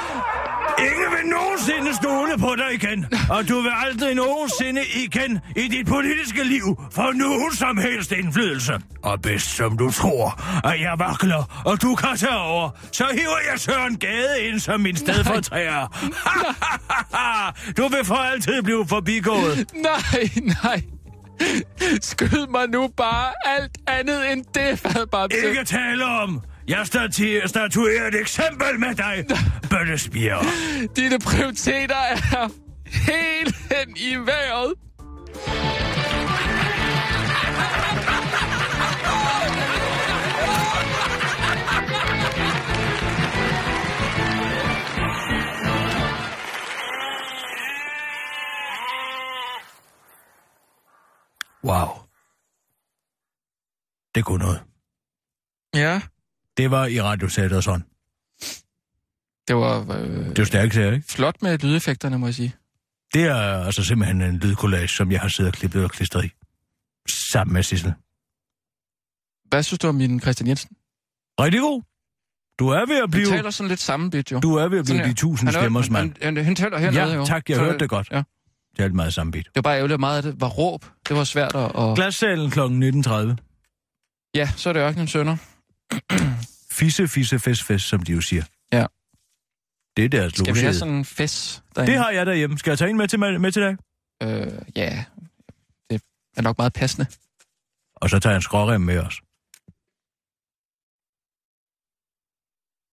Ingen vil nogensinde stole på dig igen, og du vil aldrig nogensinde igen i dit politiske liv få nogen som helst indflydelse. Og bedst som du tror, at jeg vakler, og du kan tage over, så hiver jeg Søren Gade ind som min stedfortræder. du vil for altid blive forbigået.
Nej, nej. Skyd mig nu bare alt andet end det, fadbabse.
Ikke tale om. Jeg statuer, statuerer et eksempel med dig, bøllespire.
Dine prioriteter er helt hen i vejret.
Wow. Det kunne noget.
Ja.
Det var i radiosættet sådan.
Det var... Øh,
det var stærkt her, ikke?
Flot med lydeffekterne, må jeg sige.
Det er altså simpelthen en lydkollage, som jeg har siddet og klippet og klistret i. Sammen med Sissel.
Hvad synes du om min Christian Jensen?
Rigtig god. Du er ved at blive...
Han taler sådan lidt samme bit, jo.
Du er ved at blive de tusind stemmers mand.
Han, han, han taler hernede,
ja,
jo.
Ja, tak, jeg Så, hørte det godt. Ja. Det er meget samme bit.
Det var bare ærgerligt, meget det var råb. Det var svært at... Og...
Glassalen kl. 19.30.
Ja, så er det ørkenen sønder.
fisse, fisse, fes, fes, som de jo siger.
Ja.
Det er deres
Skal vi have sådan en fest
derinde? Det har jeg derhjemme. Skal jeg tage en med til, med til dig?
Øh, ja. er nok meget passende.
Og så tager jeg en skrårem med os.